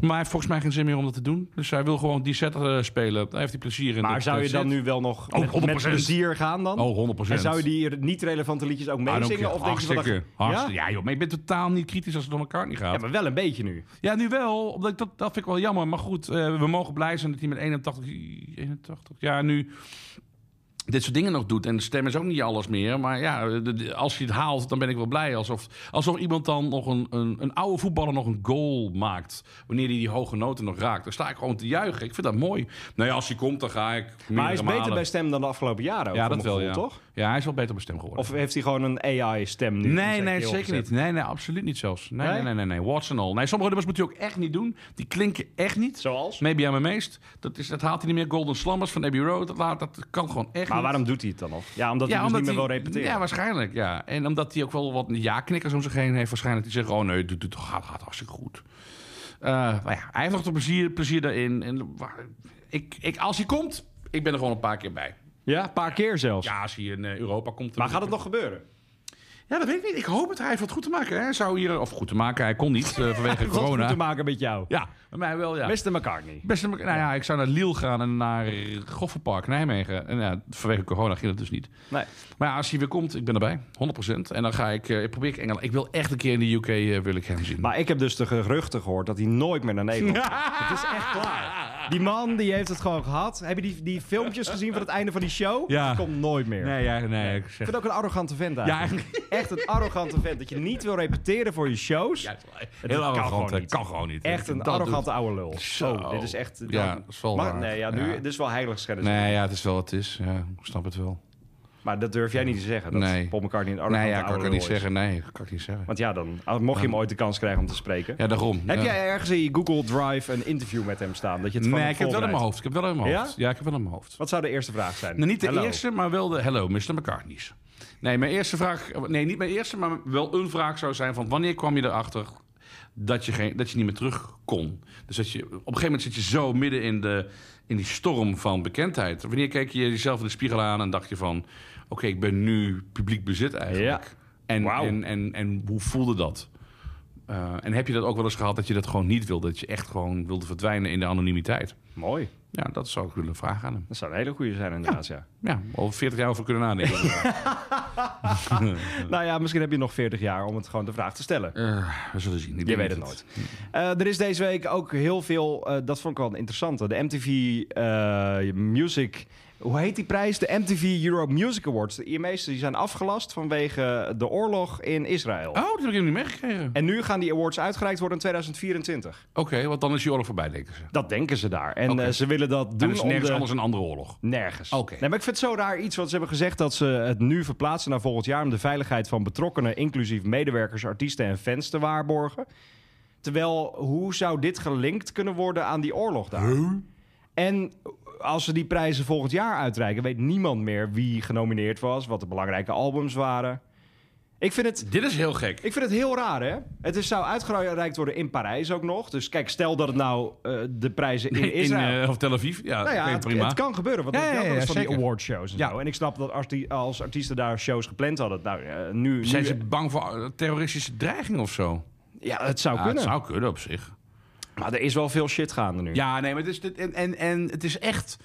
[SPEAKER 3] Maar hij heeft volgens mij geen zin meer om dat te doen. Dus hij wil gewoon die set eh, spelen. Daar heeft hij plezier in.
[SPEAKER 2] Maar
[SPEAKER 3] Dat,
[SPEAKER 2] zou
[SPEAKER 3] eh,
[SPEAKER 2] je dan
[SPEAKER 3] set.
[SPEAKER 2] nu wel nog
[SPEAKER 3] Oh,
[SPEAKER 2] met, met
[SPEAKER 3] 100%.
[SPEAKER 2] plezier gaan dan?
[SPEAKER 3] Oh, 100
[SPEAKER 2] En zou je die niet relevante liedjes ook
[SPEAKER 3] Ah, dan
[SPEAKER 2] meezingen?
[SPEAKER 3] ook,
[SPEAKER 2] Of denk je van... dat-
[SPEAKER 3] hartstikke, hartstikke-
[SPEAKER 2] Ja?
[SPEAKER 3] ja? joh, maar je bent totaal niet kritisch als het om elkaar niet gaat.
[SPEAKER 2] ja, maar wel een beetje nu.
[SPEAKER 3] Ja, nu wel. Omdat ik dat, dat vind ik wel jammer. Maar goed, eh, we mogen blij zijn dat hij met 81, 81 jaar nu dit soort dingen nog doet. En de stem is ook niet alles meer. Maar ja, de- de- als hij het haalt, dan ben ik wel blij. Alsof, alsof iemand dan nog een, een, een oude voetballer nog een goal maakt. Wanneer hij die hoge noten nog raakt. Dan sta ik gewoon te juichen. Ik vind dat mooi. Nou ja, als hij komt, dan ga ik
[SPEAKER 2] Maar
[SPEAKER 3] meerdere
[SPEAKER 2] hij is beter
[SPEAKER 3] malen.
[SPEAKER 2] bij stem dan de afgelopen jaren.
[SPEAKER 3] Ja,
[SPEAKER 2] voor
[SPEAKER 3] dat
[SPEAKER 2] mijn
[SPEAKER 3] wel, ja.
[SPEAKER 2] gevoel, toch?
[SPEAKER 3] Ja, hij is wel beter bij stem geworden.
[SPEAKER 2] Of heeft hij gewoon een AI-stem nu?
[SPEAKER 3] Nee,
[SPEAKER 2] in zijn
[SPEAKER 3] nee,
[SPEAKER 2] keel
[SPEAKER 3] zeker
[SPEAKER 2] gezet?
[SPEAKER 3] niet. Nee, nee, absoluut niet zelfs. Nee,
[SPEAKER 2] Nee?
[SPEAKER 3] nee, nee, nee. nee. Watson all. Nee, sommige nummers moet je ook echt niet doen. Die klinken echt niet.
[SPEAKER 2] Zoals?
[SPEAKER 3] Maybe I'm Amazed. Dat, is, dat haalt hij niet meer. Golden Slumbers van Abbey Road. Dat, laat- dat kan gewoon echt
[SPEAKER 2] Maar
[SPEAKER 3] niet.
[SPEAKER 2] waarom doet hij het dan nog? Ja, omdat hij dus niet meer wil repeteren.
[SPEAKER 3] Ja, waarschijnlijk. Ja. En omdat hij ook wel wat ja-knikkers om zich heen heeft. Waarschijnlijk die zeggen, oh nee, dit, dit gaat, gaat hartstikke goed. Eh, maar ja, hij heeft nog de plezier, plezier daarin. En, waar- ik, ik, als hij komt, ik ben er gewoon een paar keer bij.
[SPEAKER 2] Ja, een paar keer zelfs.
[SPEAKER 3] Ja, als hij in eh, Europa komt. dan-
[SPEAKER 2] Maar gaat het nog gebeuren?
[SPEAKER 3] Ja, dat weet ik niet. Ik hoop het. Hij heeft wat goed te maken. Hè. Hij zou hier, of goed te maken, hij kon niet
[SPEAKER 2] (laughs)
[SPEAKER 3] eh, vanwege
[SPEAKER 2] Wat goed
[SPEAKER 3] corona.
[SPEAKER 2] te maken met jou.
[SPEAKER 3] Ja, bij mij wel, ja. Best...
[SPEAKER 2] Beste McCartney.
[SPEAKER 3] een- nou ja, ik zou naar Liel gaan en naar Goffenpark, Nijmegen. En ja, vanwege corona ging dat dus niet.
[SPEAKER 2] Nee.
[SPEAKER 3] Maar ja, als hij weer komt, ik ben erbij. 100%. En dan ga ik, eh, ik probeer ik Engeland. Ik wil echt een keer in de UK eh, wil ik hem zien.
[SPEAKER 2] Maar ik heb dus de geruchten gehoord dat hij nooit meer naar Nederland
[SPEAKER 3] (laughs)
[SPEAKER 2] komt. Het is echt klaar. Die man die heeft het gewoon gehad. Heb je die, die filmpjes gezien van het einde van die show?
[SPEAKER 3] Ja.
[SPEAKER 2] Die komt nooit meer.
[SPEAKER 3] Nee, ja, nee,
[SPEAKER 2] Ik
[SPEAKER 3] ik zeg...
[SPEAKER 2] vind het ook een arrogante vent
[SPEAKER 3] (laughs) Ja,
[SPEAKER 2] eigenlijk.
[SPEAKER 3] eigenlijk-
[SPEAKER 2] Echt een arrogante vent. Dat je niet wil repeteren voor je shows.
[SPEAKER 3] Ja, het is wel
[SPEAKER 2] kan
[SPEAKER 3] heel arrogant.
[SPEAKER 2] gewoon
[SPEAKER 3] hè.
[SPEAKER 2] niet.
[SPEAKER 3] Kan gewoon niet.
[SPEAKER 2] Echt een
[SPEAKER 3] Dat doet-
[SPEAKER 2] arrogante oude lul.
[SPEAKER 3] Zo.
[SPEAKER 2] Oh, dit is echt... dan-
[SPEAKER 3] Ja, dat is wel
[SPEAKER 2] maar,
[SPEAKER 3] waar.
[SPEAKER 2] Nee, ja, nu,
[SPEAKER 3] Ja.
[SPEAKER 2] dit is wel heiligschennis.
[SPEAKER 3] Nee, ja, het is wel wat het is. Ja, ik snap het wel.
[SPEAKER 2] Maar dat durf jij niet te zeggen. Dat
[SPEAKER 3] Nee.
[SPEAKER 2] Paul McCartney een arrogante
[SPEAKER 3] Nee, ja, kan
[SPEAKER 2] oude
[SPEAKER 3] ik ook
[SPEAKER 2] lul
[SPEAKER 3] niet
[SPEAKER 2] is.
[SPEAKER 3] zeggen. Nee, kan ik niet zeggen.
[SPEAKER 2] Want ja, dan ah, mocht je hem ooit de kans krijgen om te spreken.
[SPEAKER 3] Ja, daarom.
[SPEAKER 2] Heb
[SPEAKER 3] Ja.
[SPEAKER 2] jij ergens in je Google Drive een interview met hem staan? Dat je het van
[SPEAKER 3] Nee,
[SPEAKER 2] hem
[SPEAKER 3] ik heb het wel
[SPEAKER 2] voorbereidt?
[SPEAKER 3] in mijn hoofd. Ik heb het wel in mijn
[SPEAKER 2] Ja?
[SPEAKER 3] hoofd. Ja, ik heb het wel in mijn hoofd.
[SPEAKER 2] Wat zou de eerste vraag zijn?
[SPEAKER 3] Nou, niet de
[SPEAKER 2] Hallo.
[SPEAKER 3] eerste, maar wel de hello, Mr. McCartney's. Nee, mijn eerste vraag... Nee, niet mijn eerste, maar wel een vraag zou zijn van... wanneer kwam je erachter dat je, geen, dat je niet meer terug kon? Dus dat je, op een gegeven moment zit je zo midden in, de, in die storm van bekendheid. Wanneer keek je jezelf in de spiegel aan en dacht je van... oké, ik ben nu publiek bezit eigenlijk.
[SPEAKER 2] Ja.
[SPEAKER 3] En,
[SPEAKER 2] Wauw.
[SPEAKER 3] en, en, en hoe voelde dat? Eh, en heb je dat ook wel eens gehad dat je dat gewoon niet wilde? Dat je echt gewoon wilde verdwijnen in de anonimiteit?
[SPEAKER 2] Mooi.
[SPEAKER 3] Ja, dat zou ik willen vragen aan hem.
[SPEAKER 2] Dat zou een hele goede zijn inderdaad, ja.
[SPEAKER 3] Ja, al 40 jaar over kunnen nadenken.
[SPEAKER 2] Nou ja, misschien heb je nog 40 jaar om het gewoon de vraag te stellen.
[SPEAKER 3] (laughs) Eh, we zullen zien. Ik
[SPEAKER 2] Je
[SPEAKER 3] denk
[SPEAKER 2] weet het
[SPEAKER 3] dat-
[SPEAKER 2] nooit. Eh, er is deze week ook heel veel, eh, dat vond ik wel interessant. De MTV eh, Music, hoe heet die prijs? De MTV Europe Music Awards. De IMA's die zijn afgelast vanwege de oorlog in Israël.
[SPEAKER 3] Oh, dat heb ik niet meegekregen. Oké,
[SPEAKER 2] En nu gaan die awards uitgereikt worden in 2024.
[SPEAKER 3] want dan is die oorlog voorbij, denken ze.
[SPEAKER 2] Dat denken ze daar. En
[SPEAKER 3] Oké.
[SPEAKER 2] eh, ze willen dat
[SPEAKER 3] Dan
[SPEAKER 2] doen
[SPEAKER 3] is
[SPEAKER 2] om
[SPEAKER 3] nergens
[SPEAKER 2] de-
[SPEAKER 3] anders een andere oorlog.
[SPEAKER 2] Nergens.
[SPEAKER 3] Oké.
[SPEAKER 2] Nee, maar ik vind het zo raar iets, want ze hebben gezegd dat ze het nu verplaatsen naar volgend jaar om de veiligheid van betrokkenen, inclusief medewerkers, artiesten en fans te waarborgen. Terwijl, hoe zou dit gelinkt kunnen worden aan die oorlog daar? En als ze die prijzen volgend jaar uitreiken, weet niemand meer wie genomineerd was, wat de belangrijke albums waren. Ik vind het,
[SPEAKER 3] Dit is heel gek.
[SPEAKER 2] ik vind het heel raar, hè? Het is, zou uitgereikt worden in Parijs ook nog. Dus kijk, stel dat het nou eh, de prijzen in Israël...
[SPEAKER 3] (laughs) In, eh, of Tel Aviv. Ja,
[SPEAKER 2] Nou ja,
[SPEAKER 3] oké,
[SPEAKER 2] het,
[SPEAKER 3] prima.
[SPEAKER 2] het kan gebeuren. Want
[SPEAKER 3] Ja,
[SPEAKER 2] dat
[SPEAKER 3] ja,
[SPEAKER 2] ja,
[SPEAKER 3] ja,
[SPEAKER 2] van die
[SPEAKER 3] zeker.
[SPEAKER 2] awardshows en
[SPEAKER 3] Ja.
[SPEAKER 2] zo. En ik snap dat als, die, als artiesten daar shows gepland hadden... Nou, eh, nu,
[SPEAKER 3] Zijn
[SPEAKER 2] nu-
[SPEAKER 3] ze bang voor eh, terroristische dreiging of zo?
[SPEAKER 2] ja, het zou
[SPEAKER 3] Ja, het
[SPEAKER 2] kunnen.
[SPEAKER 3] zou kunnen op zich.
[SPEAKER 2] Maar er is wel veel shit gaande nu.
[SPEAKER 3] Ja, nee, maar het is, dit, en, en, en het is echt...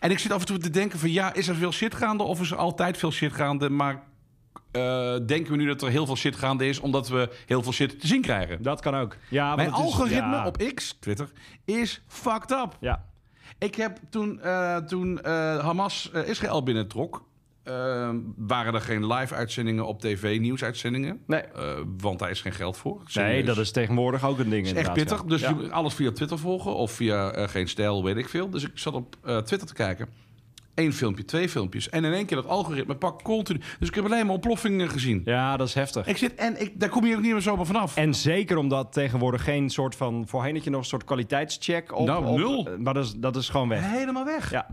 [SPEAKER 3] En ik zit af en toe te denken van... Ja, is er veel shit gaande of is er altijd veel shit gaande? Maar eh, denken we nu dat er heel veel shit gaande is... omdat we heel veel shit te zien krijgen?
[SPEAKER 2] Dat kan ook. Ja, want
[SPEAKER 3] Mijn
[SPEAKER 2] het is-
[SPEAKER 3] algoritme
[SPEAKER 2] ja.
[SPEAKER 3] op X, Twitter, is fucked up.
[SPEAKER 2] Ja.
[SPEAKER 3] Ik heb toen, eh, toen eh, Hamas eh, Israël binnentrok. ehm, waren er geen live-uitzendingen op tv, nieuwsuitzendingen.
[SPEAKER 2] Nee.
[SPEAKER 3] Eh, want daar is geen geld voor.
[SPEAKER 2] Nee,
[SPEAKER 3] Serieus.
[SPEAKER 2] dat is tegenwoordig ook een ding.
[SPEAKER 3] is echt
[SPEAKER 2] inderdaad, ja.
[SPEAKER 3] pittig. Dus
[SPEAKER 2] Ja.
[SPEAKER 3] je moet alles via Twitter volgen of via eh, geen stijl, weet ik veel. Dus ik zat op eh, Twitter te kijken. Eén filmpje, twee filmpjes. En in één keer dat algoritme pak continu. Dus ik heb alleen maar ontploffingen gezien.
[SPEAKER 2] ja, dat is heftig.
[SPEAKER 3] Ik zit en ik, daar kom je ook niet meer zomaar vanaf.
[SPEAKER 2] En zeker omdat tegenwoordig geen soort van... Voorheen had je nog een soort kwaliteitscheck op...
[SPEAKER 3] Nou,
[SPEAKER 2] op- eh,
[SPEAKER 3] nul.
[SPEAKER 2] maar dat is, dat is gewoon weg.
[SPEAKER 3] Helemaal weg.
[SPEAKER 2] Ja.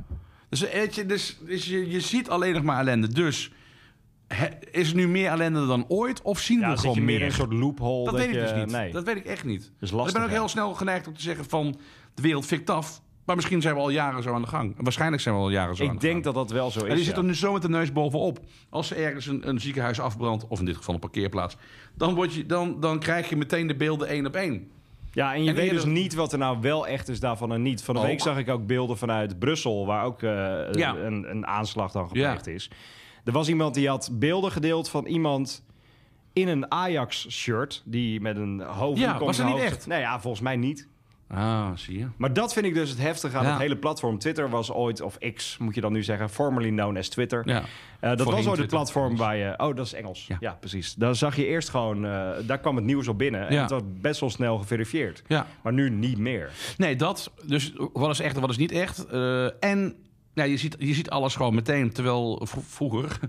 [SPEAKER 3] Dus, eh, weet je, dus, dus je, je ziet alleen nog maar ellende. Dus hè, is er nu meer ellende dan ooit? Of zien
[SPEAKER 2] Ja,
[SPEAKER 3] we
[SPEAKER 2] dan zit
[SPEAKER 3] gewoon
[SPEAKER 2] je meer
[SPEAKER 3] meer?
[SPEAKER 2] in een soort loophole.
[SPEAKER 3] dat, weet
[SPEAKER 2] je,
[SPEAKER 3] ik dus niet.
[SPEAKER 2] Nee.
[SPEAKER 3] Dat weet ik echt niet. Dus
[SPEAKER 2] lastig,
[SPEAKER 3] ik ben ook
[SPEAKER 2] hè?
[SPEAKER 3] heel snel geneigd om te zeggen van... de wereld fikt af. Maar misschien zijn we al jaren zo aan de gang. Waarschijnlijk zijn we al jaren zo aan
[SPEAKER 2] ik
[SPEAKER 3] de gang.
[SPEAKER 2] denk dat dat wel zo is.
[SPEAKER 3] En die
[SPEAKER 2] ja.
[SPEAKER 3] zit er nu zo met de neus bovenop. Als er ergens een, een ziekenhuis afbrandt, of in dit geval een parkeerplaats... dan, word je, dan, dan krijg je meteen de beelden één op één.
[SPEAKER 2] Ja, en je
[SPEAKER 3] En
[SPEAKER 2] weet
[SPEAKER 3] eerder-
[SPEAKER 2] dus niet wat er nou wel echt is daarvan en niet. Van de
[SPEAKER 3] Ook.
[SPEAKER 2] week zag ik ook beelden vanuit Brussel, waar ook eh,
[SPEAKER 3] Oh. Ja.
[SPEAKER 2] een, een aanslag dan gepleegd is. Er was iemand die had beelden gedeeld van iemand in een Ajax-shirt, die met een hoofd...
[SPEAKER 3] Ja,
[SPEAKER 2] die komt
[SPEAKER 3] was dat
[SPEAKER 2] een
[SPEAKER 3] niet
[SPEAKER 2] hoofd-
[SPEAKER 3] echt?
[SPEAKER 2] Nee, ja, volgens mij niet.
[SPEAKER 3] Ah, zie je.
[SPEAKER 2] Maar dat vind ik dus het heftige aan
[SPEAKER 3] Ja.
[SPEAKER 2] het hele platform. Twitter was ooit, of X moet je dan nu zeggen, formerly known as Twitter.
[SPEAKER 3] Ja.
[SPEAKER 2] Eh, dat
[SPEAKER 3] Voorheen
[SPEAKER 2] was ooit het
[SPEAKER 3] Twitter.
[SPEAKER 2] platform waar je... Oh, dat is Engels. Ja,
[SPEAKER 3] Ja.
[SPEAKER 2] precies. Daar zag je eerst gewoon... eh, daar kwam het nieuws op binnen. En
[SPEAKER 3] Ja.
[SPEAKER 2] het was best wel snel geverifieerd.
[SPEAKER 3] Ja.
[SPEAKER 2] Maar nu niet meer.
[SPEAKER 3] Nee, dat. Dus wat is echt en wat is niet echt. Eh, en ja, je, ziet, je ziet alles gewoon meteen. Terwijl v- vroeger. (laughs)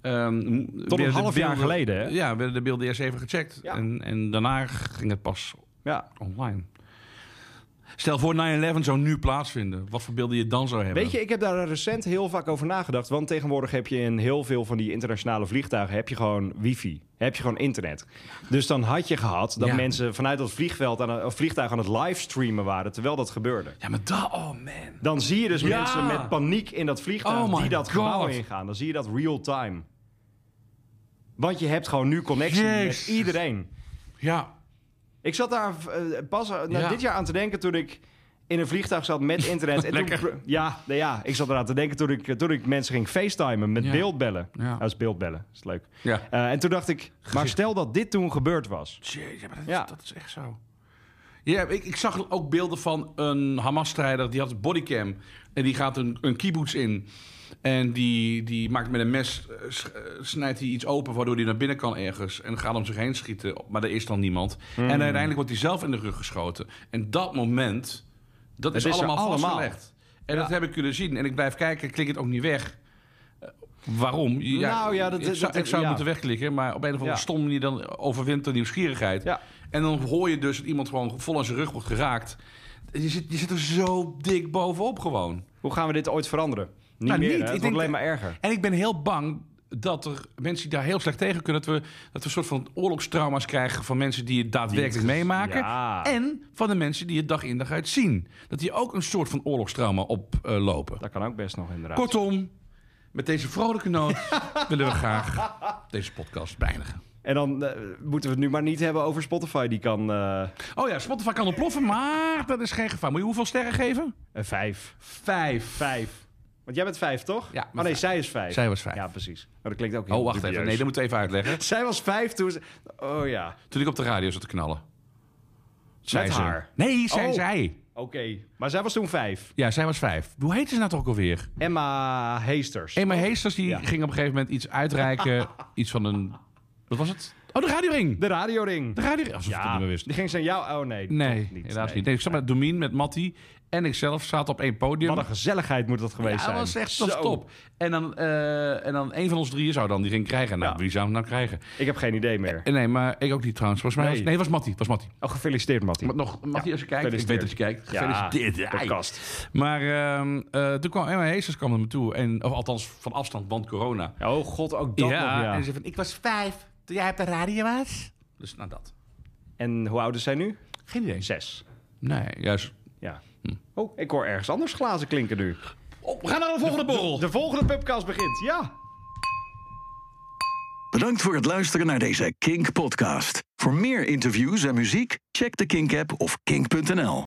[SPEAKER 3] ehm, werden de
[SPEAKER 2] half jaar
[SPEAKER 3] beelden-
[SPEAKER 2] geleden, hè?
[SPEAKER 3] Ja, werden de beelden eerst even gecheckt.
[SPEAKER 2] Ja.
[SPEAKER 3] En, en daarna ging het pas
[SPEAKER 2] Ja.
[SPEAKER 3] online. Stel voor 9-11 zou nu plaatsvinden. Wat voor beelden je dan zou hebben?
[SPEAKER 2] Weet je, ik heb daar recent heel vaak over nagedacht. Want tegenwoordig heb je in heel veel van die internationale vliegtuigen... heb je gewoon wifi. Heb je gewoon internet. Dus dan had je gehad dat
[SPEAKER 3] Ja.
[SPEAKER 2] mensen vanuit dat vliegveld aan het, of vliegtuig aan het livestreamen waren... terwijl dat gebeurde.
[SPEAKER 3] Ja, maar dat. Oh man.
[SPEAKER 2] Dan zie je dus
[SPEAKER 3] Ja.
[SPEAKER 2] mensen met paniek in dat vliegtuig
[SPEAKER 3] Oh my
[SPEAKER 2] die dat
[SPEAKER 3] God.
[SPEAKER 2] gebouw ingaan. Dan zie je dat real time. Want je hebt gewoon nu connectie
[SPEAKER 3] Jezus.
[SPEAKER 2] met iedereen.
[SPEAKER 3] Ja.
[SPEAKER 2] Ik zat daar eh, pas eh, nou,
[SPEAKER 3] Ja.
[SPEAKER 2] dit jaar aan te denken toen ik in een vliegtuig zat met internet. en toen,
[SPEAKER 3] Lekker.
[SPEAKER 2] pro- ja, nou ja, ik zat eraan te denken toen ik, eh, toen ik mensen ging facetimen met
[SPEAKER 3] Ja.
[SPEAKER 2] beeldbellen.
[SPEAKER 3] Ja.
[SPEAKER 2] Ja. Dat is beeldbellen, is leuk.
[SPEAKER 3] Ja.
[SPEAKER 2] Eh, en toen dacht ik, maar stel dat dit toen gebeurd was.
[SPEAKER 3] Jezus, ja, maar dat,
[SPEAKER 2] Ja.
[SPEAKER 3] dat is echt zo. Ja, ik, ik zag ook beelden van een Hamas-strijder. Die had een bodycam. En die gaat een, een kibbutz in. En die, die maakt met een mes, eh, s- eh, snijdt hij iets open... waardoor hij naar binnen kan ergens. En gaat om zich heen schieten. Maar er is dan niemand.
[SPEAKER 2] Hmm.
[SPEAKER 3] En uiteindelijk wordt hij zelf in de rug geschoten. En dat moment, dat is,
[SPEAKER 2] is er
[SPEAKER 3] allemaal
[SPEAKER 2] allemaal.
[SPEAKER 3] vastgelegd. En dat heb ik kunnen zien. En ik blijf kijken, klik het ook niet weg. Eh, Waarom? Ja,
[SPEAKER 2] Nou ja, dat-
[SPEAKER 3] ik zou,
[SPEAKER 2] dat-
[SPEAKER 3] ik zou
[SPEAKER 2] ja.
[SPEAKER 3] moeten wegklikken, maar op een of andere
[SPEAKER 2] Ja.
[SPEAKER 3] stomme manier dan overwint de nieuwsgierigheid.
[SPEAKER 2] Ja.
[SPEAKER 3] En dan hoor je dus dat iemand gewoon vol aan zijn rug wordt geraakt. Je zit, je zit er zo dik bovenop gewoon.
[SPEAKER 2] Hoe gaan we dit ooit veranderen? Niet
[SPEAKER 3] Nou,
[SPEAKER 2] meer,
[SPEAKER 3] niet.
[SPEAKER 2] hè? het
[SPEAKER 3] Ik
[SPEAKER 2] wordt
[SPEAKER 3] denk-
[SPEAKER 2] alleen maar erger.
[SPEAKER 3] En ik ben heel bang dat er mensen die daar heel slecht tegen kunnen... dat we, dat we een soort van oorlogstrauma's krijgen van mensen die het daadwerkelijk meemaken.
[SPEAKER 2] Ja.
[SPEAKER 3] En van de mensen die het dag in dag uit zien. Dat die ook een soort van oorlogstrauma oplopen.
[SPEAKER 2] Dat kan ook best nog inderdaad.
[SPEAKER 3] Kortom, met deze vrolijke noot
[SPEAKER 2] (laughs)
[SPEAKER 3] willen we graag deze podcast beëindigen.
[SPEAKER 2] En dan eh, moeten we het nu maar niet hebben over Spotify. Die kan eh,
[SPEAKER 3] Oh ja, Spotify kan ontploffen, maar dat is geen gevaar. Moet je hoeveel sterren geven?
[SPEAKER 2] een vijf.
[SPEAKER 3] Vijf.
[SPEAKER 2] Vijf. Want jij bent vijf, toch?
[SPEAKER 3] Ja,
[SPEAKER 2] Maar nee,
[SPEAKER 3] vijf.
[SPEAKER 2] zij is vijf.
[SPEAKER 3] Zij was vijf.
[SPEAKER 2] Ja, precies. Maar dat klinkt ook heel
[SPEAKER 3] Oh, wacht even.
[SPEAKER 2] dubieus.
[SPEAKER 3] Nee, dat moet ik even uitleggen.
[SPEAKER 2] Zij was vijf toen ze... Oh ja,
[SPEAKER 3] Toen ik op de radio zat te knallen. Zij
[SPEAKER 2] Met
[SPEAKER 3] ze.
[SPEAKER 2] haar?
[SPEAKER 3] Nee, zij,
[SPEAKER 2] Oh.
[SPEAKER 3] zij.
[SPEAKER 2] oké. Maar zij was toen vijf.
[SPEAKER 3] Ja, zij was vijf. Hoe heette ze nou toch ook alweer?
[SPEAKER 2] Emma Heesters.
[SPEAKER 3] Emma Heesters die
[SPEAKER 2] Oh. Ja.
[SPEAKER 3] ging op een gegeven moment iets
[SPEAKER 2] (laughs)
[SPEAKER 3] uitreiken. iets van een... Wat was het? Oh, de radioring.
[SPEAKER 2] De radioring.
[SPEAKER 3] De radioring. Alsof ik het
[SPEAKER 2] Ja,
[SPEAKER 3] niet meer wist.
[SPEAKER 2] die ging ze aan jou... Oh nee,
[SPEAKER 3] Nee,
[SPEAKER 2] toch
[SPEAKER 3] helaas niet. Nee, ik zat met Domien, met Matty en ikzelf zaten op één podium.
[SPEAKER 2] Wat een gezelligheid moet dat geweest
[SPEAKER 3] Ja,
[SPEAKER 2] zijn.
[SPEAKER 3] dat was echt dat
[SPEAKER 2] Zo.
[SPEAKER 3] was top. En dan, eh en dan een van ons drieën zou dan die ging krijgen. Nou,
[SPEAKER 2] Ja.
[SPEAKER 3] wie zou hem nou krijgen?
[SPEAKER 2] Ik heb geen idee meer.
[SPEAKER 3] Eh, Nee, maar ik ook niet trouwens. Volgens mij
[SPEAKER 2] Nee.
[SPEAKER 3] was, nee, was Matty. Was Matty.
[SPEAKER 2] Oh, gefeliciteerd, Mattie.
[SPEAKER 3] Maar nog, Matty,
[SPEAKER 2] Ja,
[SPEAKER 3] als je kijkt. Ik weet dat je kijkt. Gefeliciteerd.
[SPEAKER 2] Ja,
[SPEAKER 3] Ai.
[SPEAKER 2] podcast.
[SPEAKER 3] Maar ehm, eh, toen kwam Emma Heesters kwam naar me toe. En, of althans, van afstand, want corona.
[SPEAKER 2] Oh god, ook dat nog, ja.
[SPEAKER 3] en ze van, ik was vijf toen jij op de radio was. Dus nou dat.
[SPEAKER 2] En hoe oud is zij nu?
[SPEAKER 3] Geen idee.
[SPEAKER 2] Zes.
[SPEAKER 3] Nee, juist.
[SPEAKER 2] Ja. Oh, ik hoor ergens anders glazen klinken nu.
[SPEAKER 3] Oh, Hm. we gaan naar de volgende borrel.
[SPEAKER 2] De volgende pubcast begint, ja.
[SPEAKER 1] Bedankt voor het luisteren naar deze Kink podcast. Voor meer interviews en muziek, check de Kink app of kink.nl.